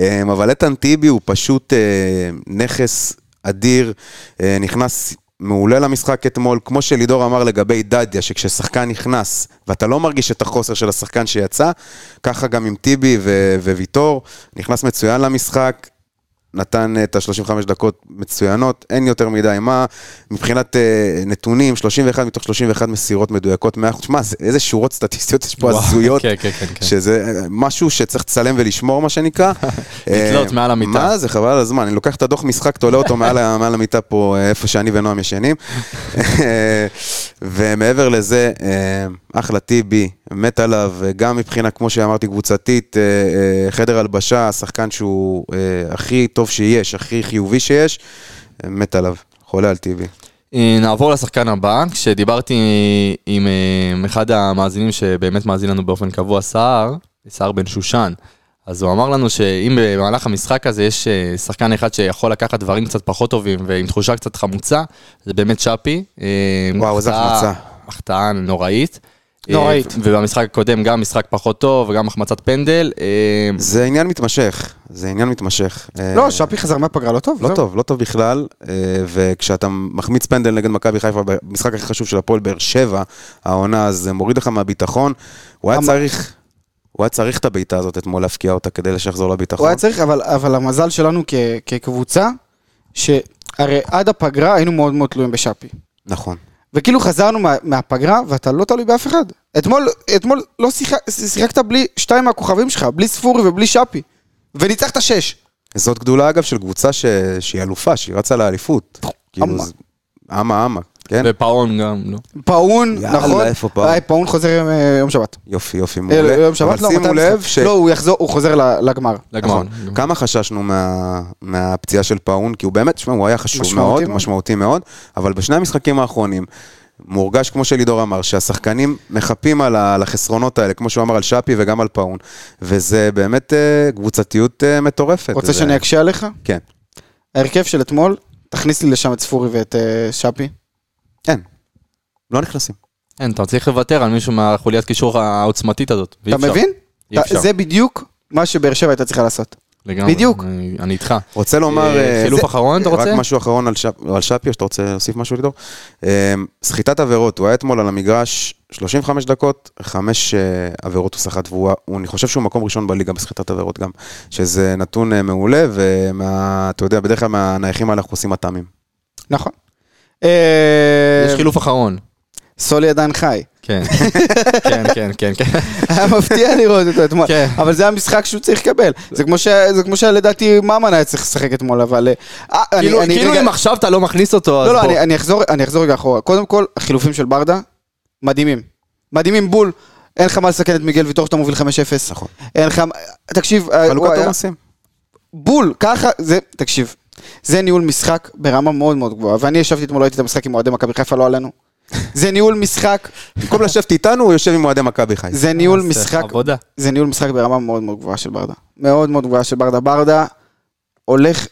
Speaker 2: אה, אבל איתן טיבי הוא פשוט אה, נכס אדיר, אה, נכנס מעולה למשחק אתמול, כמו שלידור אמר לגבי דדיה, שכששחקן נכנס ואתה לא מרגיש את החוסר של השחקן שיצא, ככה גם עם טיבי ו- וויטור, נכנס מצוין למשחק. נתן אה, את ה-35 דקות מצוינות, אין יותר מדי מה. מבחינת אה, נתונים, 31 מתוך 31 מסירות מדויקות, 100%. שמע, זה- איזה שורות סטטיסטיות יש פה
Speaker 1: וואו,
Speaker 2: הזויות.
Speaker 1: כן, כן, כן, כן.
Speaker 2: שזה אה, משהו שצריך לצלם ולשמור, מה שנקרא.
Speaker 1: לתלות
Speaker 2: אה,
Speaker 1: מעל המיטה.
Speaker 2: מה זה, חבל על הזמן. אני לוקח את הדוח משחק, תולה אותו מעל ה- מעל המיטה פה, אה, איפה שאני ונועם ישנים. אה, ומעבר לזה, אה, אחלה טיבי, מת עליו, אה, גם מבחינה, כמו שאמרתי, קבוצתית, אה, אה, חדר הלבשה, השחקן שהוא אה, הכי טוב שיש, הכי חיובי שיש, אה, מת עליו. חולה על טיבי.
Speaker 1: אה, נעבור לשחקן הבא, כשדיברתי עם אה, אחד המאזינים שבאמת מאזין לנו באופן קבוע, סער, סער בן שושן, אז הוא אמר לנו שאם במהלך המשחק הזה יש אה, שחקן אחד שיכול לקחת דברים קצת פחות טובים ועם תחושה קצת חמוצה, זה באמת שפי. אה,
Speaker 2: וואו, איזה
Speaker 1: החטאה-
Speaker 2: החמצה.
Speaker 1: החטאה נוראית. אה,
Speaker 5: נוראית.
Speaker 1: ו- ובמשחק הקודם גם משחק פחות טוב וגם החמצת פנדל. אה,
Speaker 2: זה עניין מתמשך, זה עניין מתמשך. אה,
Speaker 5: לא, שפי חזר מהפגרה, לא טוב.
Speaker 2: לא
Speaker 5: זהו.
Speaker 2: טוב, לא טוב בכלל, אה, וכשאתה מחמיץ פנדל נגד מכבי חיפה, במשחק הכי חשוב של הפועל באר שבע, העונה, אז זה מוריד לך מהביטחון. הוא היה
Speaker 5: אמ-
Speaker 2: צריך, הוא היה צריך את הבעיטה הזאת אתמול להפקיע אותה כדי שיחזור
Speaker 5: הוא
Speaker 2: לביטחון.
Speaker 5: היה צריך, אבל, אבל המזל שלנו כ, כקבוצה, שהרי עד הפגרה היינו מאוד מאוד תלויים בשאפי.
Speaker 2: נכון.
Speaker 5: וכאילו חזרנו מה, מהפגרה, ואתה לא תלוי באף אחד. אתמול, אתמול לא שיחק, שיחקת בלי שתיים מהכוכבים שלך, בלי ספורי ובלי שאפי. וניצחת שש.
Speaker 2: זאת גדולה, אגב, של קבוצה ש... שהיא אלופה, שהיא רצה לאליפות.
Speaker 5: אמ-
Speaker 2: כאילו,
Speaker 5: אמה.
Speaker 2: זה- אמה, אמה, כן?
Speaker 1: ופאון גם, לא.
Speaker 5: פאון,
Speaker 2: יאללה,
Speaker 5: נכון?
Speaker 2: איפה פאון?
Speaker 5: אה, פאון חוזר יום, אה, יום שבת.
Speaker 2: יופי, יופי,
Speaker 5: אה,
Speaker 2: מעולה.
Speaker 5: יום שבת, לא,
Speaker 2: אבל שימו
Speaker 5: מתי
Speaker 2: לב
Speaker 5: המשחק?
Speaker 2: ש...
Speaker 5: לא, הוא יחזור, הוא חוזר ל- לגמר.
Speaker 1: לגמר.
Speaker 2: נכון. כמה חששנו מה, מהפציעה של פאון, כי הוא באמת, תשמע, הוא היה חשוב
Speaker 5: משמעותי
Speaker 2: מאוד,
Speaker 5: מאוד.
Speaker 2: משמעותי מאוד, אבל בשני המשחקים האחרונים, מורגש, כמו שלידור אמר, שהשחקנים מחפים על ה- על החסרונות האלה, כמו שהוא אמר על שפי וגם על פאון, וזה באמת אה, קבוצתיות אה, מטורפת.
Speaker 5: רוצה
Speaker 2: זה-
Speaker 5: שאני אקשה עליך?
Speaker 2: כן.
Speaker 5: ההרכב של אתמול, תכניס לי לשם את ספורי ואת אה, שאפי.
Speaker 2: אין. כן. לא נכנסים.
Speaker 1: אין, כן, אתה צריך לוותר על מישהו מהחוליית קישור העוצמתית הזאת. ואי
Speaker 5: אתה
Speaker 1: אפשר.
Speaker 5: מבין?
Speaker 1: אי אפשר.
Speaker 5: אתה- זה בדיוק מה שבאר שבע הייתה צריכה לעשות.
Speaker 1: לגמרי.
Speaker 5: בדיוק.
Speaker 1: אני- אני איתך.
Speaker 2: רוצה לומר...
Speaker 1: אה,
Speaker 2: אה,
Speaker 1: חילוף
Speaker 2: זה-
Speaker 1: אחרון אתה רוצה?
Speaker 2: רק משהו אחרון על, שפ, על שפי, או שאתה רוצה להוסיף משהו לידור? אה, סחיטת עבירות, הוא היה אתמול על המגרש 35 דקות, חמש אה, עבירות הוא סחט, והוא, הוא- אני חושב שהוא מקום ראשון בליגה בסחיטת עבירות גם, שזה נתון אה, מעולה, ואתה יודע, בדרך כלל מהנייחים האלה אנחנו עושים מטעמים.
Speaker 5: נכון. אה,
Speaker 1: יש כאילו- חילוף אחרון.
Speaker 5: סולי עדיין חי.
Speaker 1: כן. כן, כן, כן, כן.
Speaker 5: היה מפתיע לראות אותו אתמול.
Speaker 1: כן.
Speaker 5: אבל זה המשחק שהוא צריך לקבל. זה כמו ש- זה כמו שלדעתי ממן היה צריך לשחק אתמול, אבל... אה, אני-
Speaker 1: כאילו-
Speaker 5: אני
Speaker 1: כאילו
Speaker 5: רגע-
Speaker 1: אם עכשיו אתה לא מכניס אותו, אז
Speaker 5: לא, לא,
Speaker 1: בוא.
Speaker 5: אני- אני אחזור- אני אחזור רגע אחורה. קודם כל, החילופים של ברדה, מדהימים. מדהימים בול. אין לך מה לסכן את מיגל ויטור שאתה מוביל 5-0.
Speaker 2: נכון.
Speaker 1: אה,
Speaker 5: אין לך... תקשיב, אה, הוא
Speaker 2: חלוקת
Speaker 5: היה-
Speaker 2: עומסים.
Speaker 5: בול, ככה, זה, תקשיב, זה ניהול משחק ברמה מאוד מאוד גבוהה, ואני ישבתי אתמול, לא ראיתי את המשחק עם אוהדי מכבי חיפה, לא עלינו. זה ניהול משחק,
Speaker 2: במקום לשבת איתנו, הוא יושב עם אוהדי מכבי חיפה.
Speaker 5: זה ניהול
Speaker 1: אז,
Speaker 5: משחק,
Speaker 1: אה, עבודה.
Speaker 5: זה ניהול משחק ברמה מאוד מאוד גבוהה של ברדה. מאוד מאוד גבוהה של ברדה. ברדה הולך,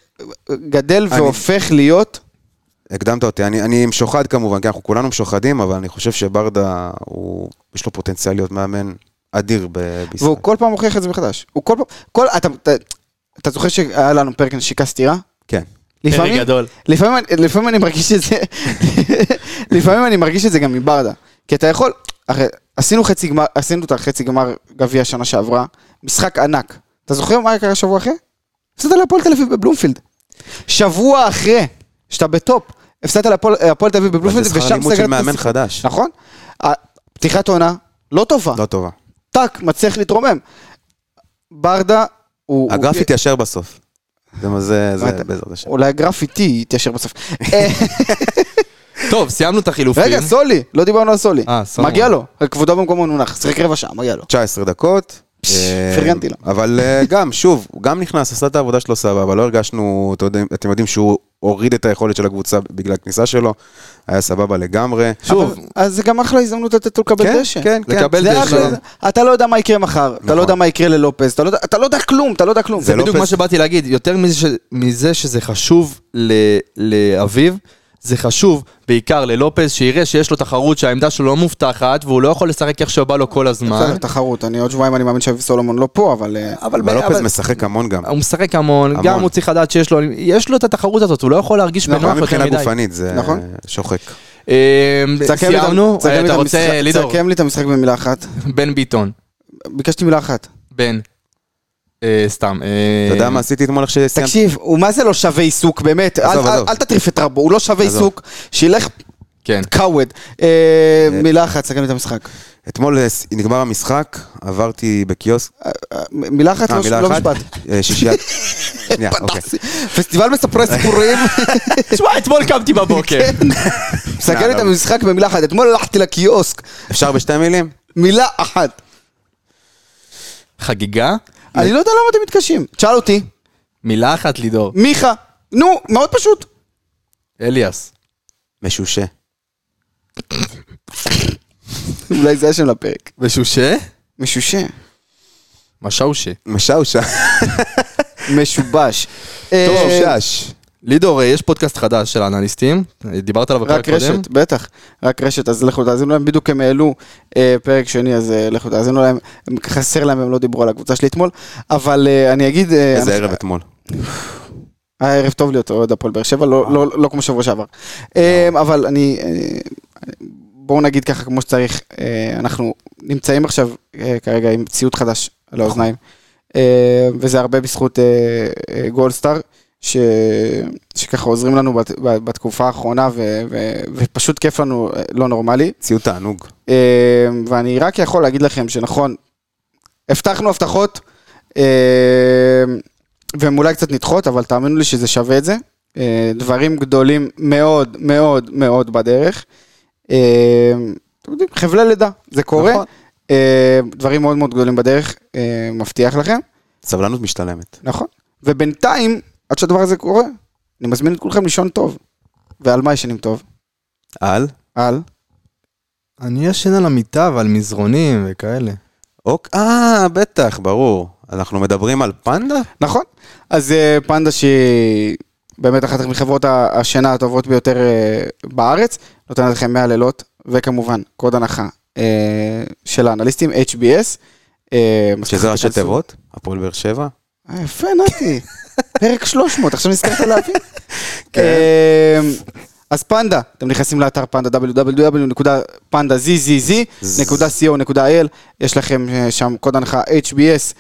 Speaker 5: גדל
Speaker 2: אני-
Speaker 5: והופך להיות,
Speaker 2: הקדמת אותי, אני, אני משוחד כמובן, כי אנחנו כולנו משוחדים, אבל אני חושב שברדה, הוא, יש לו פוטנציאל להיות מאמן אדיר ב- בישראל.
Speaker 5: והוא כל פעם הוכיח את זה מחדש. הוא כל פעם, כל, אתה, אתה, אתה זוכר שהיה לנו פרק נשיקה סטירה?
Speaker 2: כן.
Speaker 5: לפעמים,
Speaker 1: פרק גדול.
Speaker 5: לפעמים, לפעמים אני מרגיש את זה, לפעמים אני מרגיש את זה גם מברדה. כי אתה יכול, הרי עשינו חצי גמר, עשינו את החצי גמר גביע שנה שעברה, משחק ענק. אתה זוכר מה קרה שבוע אחרי? הפסדת להפועל תל אביב בבלומפילד. שבוע אחרי, שאתה בטופ, הפסדת להפועל הפועל תל אביב בבלומפילד,
Speaker 2: זה שכר לימוד של
Speaker 5: סגרת את
Speaker 2: מאמן
Speaker 5: הסיפור.
Speaker 2: חדש.
Speaker 5: נכון. ה- פתיחת עונה, לא טובה.
Speaker 2: לא טובה.
Speaker 5: טאק, מצליח להתרומם. ברדה הוא... הוא-
Speaker 2: הגרף יתיישר בסוף. זה מה זה, זה
Speaker 5: אתה-
Speaker 2: בעזרת השם.
Speaker 5: אולי הגרף איתי יתיישר בסוף. אה,
Speaker 1: טוב, סיימנו את החילופים.
Speaker 5: רגע, סולי, לא דיברנו על סולי.
Speaker 1: אה, סולי.
Speaker 5: מגיע לו, כבודו במקומו מונח, שיחק רבע שעה, מגיע לו.
Speaker 2: 19 דקות.
Speaker 5: פש,
Speaker 2: אה,
Speaker 5: פרגנתי לו.
Speaker 2: אבל אה, גם, שוב, הוא גם נכנס, עשה את העבודה שלו סבבה, לא הרגשנו, אתה יודע- אתם יודעים שהוא הוריד את היכולת של הקבוצה בגלל הכניסה שלו, היה סבבה לגמרי.
Speaker 1: שוב,
Speaker 5: אבל- אז זה גם אחלה הזדמנות לתת לו לקבל
Speaker 2: כן,
Speaker 5: דשא.
Speaker 2: כן, כן.
Speaker 1: לקבל
Speaker 5: זה
Speaker 1: דשא.
Speaker 5: אחלה, זה- אתה לא יודע מה יקרה מחר, אתה לא יודע מה יקרה ללופז, אתה לא יודע- אתה לא יודע כלום, אתה לא יודע כלום.
Speaker 1: זה
Speaker 2: לא
Speaker 1: בדיוק
Speaker 2: פס-
Speaker 1: מה שבאתי להגיד, יותר מזה, ש... מזה שזה חשוב ל... לאביב, זה חשוב בעיקר ללופז, שיראה שיש לו תחרות שהעמדה שלו לא מובטחת, והוא לא יכול לשחק איך שבא לו כל הזמן.
Speaker 5: בסדר, תחרות, אני עוד שבועיים אני מאמין שאביב סולומון לא פה, אבל... אה,
Speaker 1: אבל,
Speaker 2: אבל
Speaker 1: אבל...
Speaker 2: לופז משחק המון גם.
Speaker 1: הוא משחק המון,
Speaker 2: המון.
Speaker 1: גם הוא צריך לדעת שיש לו, יש לו את התחרות הזאת, הוא לא יכול להרגיש בנוח
Speaker 2: גם
Speaker 1: יותר
Speaker 2: מבחינה
Speaker 1: מדי.
Speaker 2: גופנית זה
Speaker 5: נכון.
Speaker 2: שוחק.
Speaker 1: אה,
Speaker 5: תסכם לי את ה-
Speaker 1: סיימנו, אה,
Speaker 5: תסכם לי את
Speaker 1: אתה
Speaker 5: המשחק-
Speaker 1: רוצה, לידור,
Speaker 5: תסכם לי את המשחק במילה אחת.
Speaker 1: בן ביטון,
Speaker 5: ביקשתי מילה אחת.
Speaker 1: בן, אה, סתם, אה,
Speaker 2: אתה יודע מה עשיתי אתמול איך שסיימתי?
Speaker 5: תקשיב, הוא מה זה לא שווה עיסוק, באמת. אל-
Speaker 2: עזוב,
Speaker 5: אל-
Speaker 2: עזוב.
Speaker 5: אל תטריף את רבו, הוא לא שווה
Speaker 2: עזוב.
Speaker 5: עיסוק. שילך
Speaker 1: כן,
Speaker 5: קאווד. אה, מילה אחת, תסכם לי את המשחק.
Speaker 2: אתמול אה, ס- נגמר המשחק, עברתי בקיוסק.
Speaker 5: אה, מ- מילה אחת,
Speaker 2: אה,
Speaker 5: לא
Speaker 2: מילה
Speaker 5: לא
Speaker 2: אחת?
Speaker 5: משפט.
Speaker 2: אה, שישיית. שנייה, אוקיי.
Speaker 5: פסטיבל מספרי סיפורים.
Speaker 1: תשמע, אתמול קמתי בבוקר,
Speaker 5: כן.
Speaker 2: כן.
Speaker 5: סכם לי את המשחק במילה אחת. אתמול הלכתי לקיוסק,
Speaker 2: אפשר בשתי מילים?
Speaker 5: מילה אחת.
Speaker 1: חגיגה,
Speaker 5: אני לא יודע למה אתם מתקשים. תשאל אותי,
Speaker 1: מילה אחת לידור,
Speaker 5: מיכה. נו, מאוד פשוט.
Speaker 1: אליאס.
Speaker 2: משושה.
Speaker 5: אולי זה השם לפרק.
Speaker 1: משושה?
Speaker 5: משושה.
Speaker 1: משאושה.
Speaker 2: משאושה.
Speaker 5: משובש. אה,
Speaker 2: משושש.
Speaker 1: לידור, אה, יש פודקאסט חדש של האנליסטים, אה, דיברת עליו בפרק
Speaker 5: רק
Speaker 1: קודם.
Speaker 5: רשת, בטח, רק רשת, אז לכו תאזינו להם, בדיוק הם העלו אה, פרק שני, אז אה, לכו תאזינו להם, הם- חסר להם, הם לא דיברו על הקבוצה שלי אתמול, אבל אה, אני אגיד, אה,
Speaker 2: איזה
Speaker 5: אני-
Speaker 2: ערב אתמול.
Speaker 5: היה אה, ערב טוב להיות אוהד הפועל באר שבע, לא- לא לא כמו שבוע שעבר, אה, אבל אני, אה, בואו נגיד ככה כמו שצריך, אה, אנחנו נמצאים עכשיו אה, כרגע עם ציוד חדש על האוזניים, אה, וזה הרבה בזכות אה, אה, גולדסטאר, ש... שככה עוזרים לנו בת... ב- בתקופה האחרונה, ו... ו... ופשוט כיף לנו אה, לא נורמלי.
Speaker 2: ציוד תענוג.
Speaker 5: אה, ואני רק יכול להגיד לכם שנכון, הבטחנו הבטחות, אה, והן אולי קצת נדחות, אבל תאמינו לי שזה שווה את זה. אה, דברים גדולים מאוד מאוד מאוד בדרך. אה, אתם יודעים, חבלי לידה, זה קורה.
Speaker 2: נכון.
Speaker 5: אה, דברים מאוד מאוד גדולים בדרך, אה, מבטיח לכם.
Speaker 2: סבלנות משתלמת.
Speaker 5: נכון. ובינתיים, עד שהדבר הזה קורה, אני מזמין את כולכם לישון טוב. ועל מה ישנים טוב?
Speaker 2: על?
Speaker 5: על?
Speaker 1: אני ישן על המיטה ועל מזרונים וכאלה.
Speaker 2: אוק. אה, בטח, ברור. אנחנו מדברים על פנדה?
Speaker 5: נכון. אז אה, פנדה שהיא באמת אחת מחברות ה- השינה הטובות ביותר אה, בארץ, נותנת לכם 100 לילות, וכמובן, קוד הנחה אה, של האנליסטים, HBS. אה, אז
Speaker 2: שזה
Speaker 5: ככה
Speaker 2: ראשי
Speaker 5: תיכנסו.
Speaker 2: תיבות? הפועל באר שבע?
Speaker 5: אה, יפה, נתי. פרק 300, עכשיו נזכרת להבין. אה, אז פנדה, אתם נכנסים לאתר פנדה, www.pandazzz.co.il, יש לכם אה, שם קוד הנחה HBS,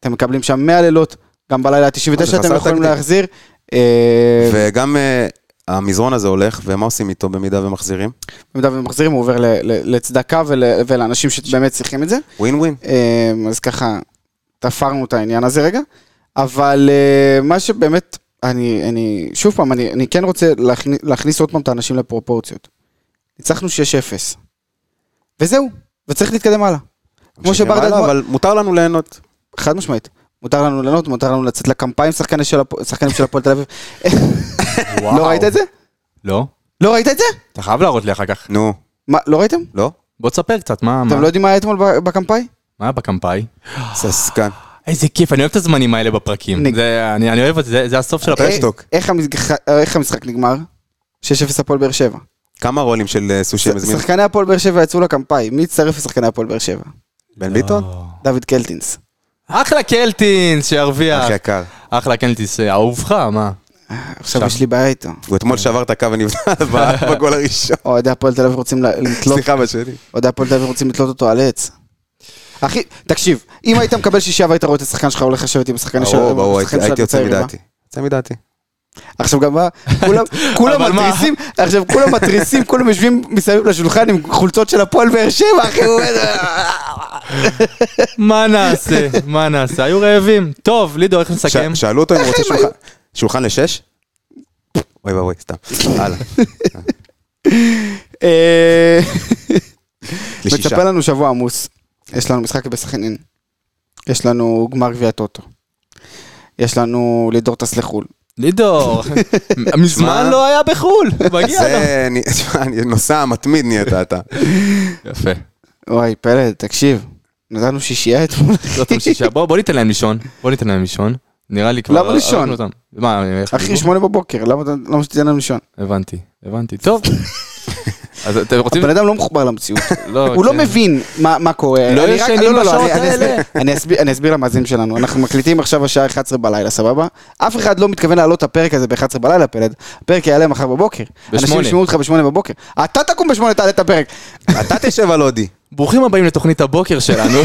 Speaker 5: אתם מקבלים שם 100 לילות, גם בלילה
Speaker 2: אה, זה
Speaker 5: ה-99
Speaker 2: חסר
Speaker 5: אתם יכולים
Speaker 2: תקדים.
Speaker 5: להחזיר. אה,
Speaker 2: וגם אה, המזרון הזה הולך, ומה עושים איתו במידה ומחזירים?
Speaker 5: במידה והם מחזירים, הוא עובר ל- ל- לצדקה ול- ולאנשים שבאמת צריכים את זה.
Speaker 2: ווין ווין.
Speaker 5: אמ, אז ככה, תפרנו את העניין הזה רגע. אבל אה, מה שבאמת, אני, אני שוב פעם, אני, אני כן רוצה להכניס, להכניס עוד פעם את האנשים לפרופורציות. ניצחנו 6-0. וזהו, וצריך להתקדם הלאה. כמו
Speaker 2: ממשיכים
Speaker 5: שברדה
Speaker 2: הלאה,
Speaker 5: אתמול-
Speaker 2: אבל מותר לנו ליהנות.
Speaker 5: חד משמעית. מותר לנו ליהנות, מותר לנו לצאת לקמפיים שחקני של הפ- שחקנים של הפועל תל אביב. לא ראית את זה?
Speaker 1: לא.
Speaker 5: לא ראית את זה?
Speaker 1: אתה חייב להראות לי אחר כך.
Speaker 2: נו,
Speaker 5: מה, לא ראיתם?
Speaker 2: לא?
Speaker 1: בוא תספר קצת, מה מה-
Speaker 5: אתם לא יודעים מה היה אתמול ב- בקמפאי?
Speaker 1: מה היה בקמפאי?
Speaker 2: ססקן.
Speaker 1: איזה כיף, אני אוהב את הזמנים האלה בפרקים.
Speaker 5: נג-
Speaker 1: זה- אני אני אוהב את זה, זה הסוף של הפרק.
Speaker 5: אה,
Speaker 2: טוק.
Speaker 5: איך המשחק- איך המשחק נגמר? 6-0 הפועל באר שבע.
Speaker 2: כמה רולים של אה, סושי מזמין?
Speaker 5: שחקני הפועל באר שבע יצאו לקמפאי, מי הצטרף לשחקני הפועל באר שבע?
Speaker 2: בן ביטון?
Speaker 1: אה.
Speaker 5: דוד קלטינס. אה.
Speaker 1: אחלה קלטינס, שירוויח.
Speaker 2: אחי יקר. אחלה.
Speaker 1: אחלה קלטינס, אה, אהובך, מה?
Speaker 5: עכשיו יש לי בעיה איתו.
Speaker 2: הוא
Speaker 1: אה.
Speaker 2: אתמול שבר את הקו ונבנה ב- בגול הראשון.
Speaker 5: אוהדי הפועל תל אביב רוצים ל- לתלות
Speaker 2: סליחה, בשני.
Speaker 5: אוהדי הפועל תל אביב רוצים לתלות אותו על עץ. אחי, תקשיב, אם היית מקבל שישייה והיית רואה את השחקן שלך הולך לשבת עם השחקן
Speaker 2: ברור,
Speaker 5: שלו, עם
Speaker 2: ברור,
Speaker 5: השחקן
Speaker 2: הייתי-
Speaker 5: שלו
Speaker 2: הייתי יוצא
Speaker 5: בצעירים,
Speaker 2: מדעתי. יוצא מדעתי.
Speaker 5: אה? עכשיו גם מה, כולם- כולם
Speaker 1: אבל מה?
Speaker 5: מתריסים, עכשיו כולם מתריסים, כולם יושבים מסביב לשולחן עם חולצות של הפועל באר שבע, אחי, הוא אומר,
Speaker 1: מה נעשה? מה נעשה? היו רעבים. טוב, לידו, איך
Speaker 2: ש-
Speaker 1: נסכם?
Speaker 2: שאלו אותו אם הוא רוצה
Speaker 5: הם
Speaker 2: שולחן- שולחן לשש? אוי ואבוי, סתם. הלאה.
Speaker 5: אה,
Speaker 2: לשישה.
Speaker 5: מצפה לנו שבוע עמוס. יש לנו משחק בסכנין. יש לנו גמר גביע טוטו. יש לנו לידור טס לחו"ל.
Speaker 1: לידו, מזמן
Speaker 2: שמע.
Speaker 1: לא היה בחו"ל, מגיע לו.
Speaker 2: זה אני- תשמע, אני- נוסע מתמיד נהיית אתה.
Speaker 1: יפה.
Speaker 5: וואי, פלד, תקשיב. נתנו שישייה אתמול.
Speaker 1: לא אותם שישה. בוא בוא ניתן להם לישון. בוא ניתן להם לישון. נראה לי כבר...
Speaker 5: למה לישון?
Speaker 1: הרגנו אותם. מה, איך
Speaker 5: אחי,
Speaker 1: דיברו?
Speaker 5: שמונה בבוקר, למה אתה- למה שתיתן לנו לישון?
Speaker 1: הבנתי, הבנתי. טוב. אז אתם רוצים...
Speaker 5: הבן אדם לא מחובר למציאות.
Speaker 1: לא,
Speaker 5: הוא לא
Speaker 1: כן.
Speaker 5: מבין מה מה קורה.
Speaker 1: לא
Speaker 5: אני רק-
Speaker 1: ישנים
Speaker 5: לא, לא, לא,
Speaker 1: בשעות
Speaker 5: אני- אני
Speaker 1: האלה.
Speaker 5: אסביר- אני אסביר- אני אסביר למאזינים שלנו. אנחנו מקליטים עכשיו השעה 11 בלילה, סבבה? אף אחד לא מתכוון להעלות את הפרק הזה ב-11 בלילה, פלד. הפרק יעלה מחר בבוקר. אנשים
Speaker 1: בשמונה.
Speaker 5: ישמעו אותך ב-8 בבוקר. אתה תקום ב-8 תעלה את הפרק.
Speaker 2: אתה תשב על הודי.
Speaker 1: ברוכים הבאים לתוכנית הבוקר שלנו.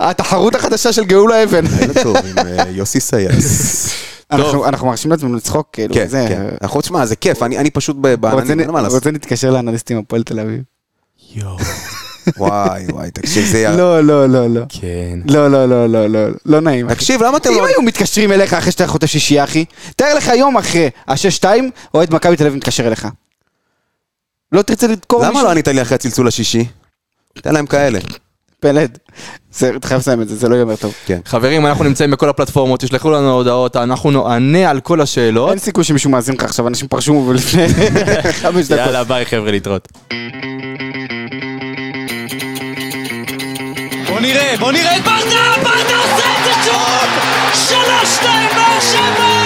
Speaker 5: התחרות החדשה של גאולה אבן.
Speaker 2: לילה טוב עם אה, יוסי סייס.
Speaker 5: אנחנו אנחנו מרשים לעצמנו לצחוק, כאילו,
Speaker 2: כן,
Speaker 5: זה...
Speaker 2: כן. אנחנו, תשמע, זה כיף, אני אני פשוט ב-
Speaker 5: רוצה-
Speaker 2: בעננים, אין מה לעשות.
Speaker 5: רוצה להתקשר לאנליסטים הפועל תל אביב?
Speaker 1: יואו.
Speaker 2: וואי, וואי, תקשיב, זה יהיה...
Speaker 5: לא, לא, לא, לא.
Speaker 1: כן.
Speaker 5: לא, לא, לא, לא, לא, לא נעים. אחי.
Speaker 2: תקשיב, למה אתם
Speaker 5: אם
Speaker 2: לא...
Speaker 5: היו מתקשרים אליך אחרי שאתה חוטף שישייה, אחי, תאר לך יום אחרי השש-שתיים, אוהד מכבי תל אביב מתקשר אליך. לא תרצה לדקור מישהו?
Speaker 2: למה לא ענית לי אחרי הצלצול השישי? תן להם כאלה.
Speaker 5: פלד. זה, אתה חייב לסיים את זה, זה לא ייאמר טוב.
Speaker 2: כן.
Speaker 1: חברים, אנחנו נמצאים בכל הפלטפורמות, תשלחו לנו הודעות, אנחנו נענה על כל השאלות.
Speaker 5: אין סיכוי שמישהו מאזין לך עכשיו, אנשים פרשו לפני חמש דקות.
Speaker 1: יאללה, ביי חבר'ה, להתראות.
Speaker 3: בוא נראה, בוא נראה את ברדה, ברדה עושה את זה שוב! שלוש, שתיים, באר שבע!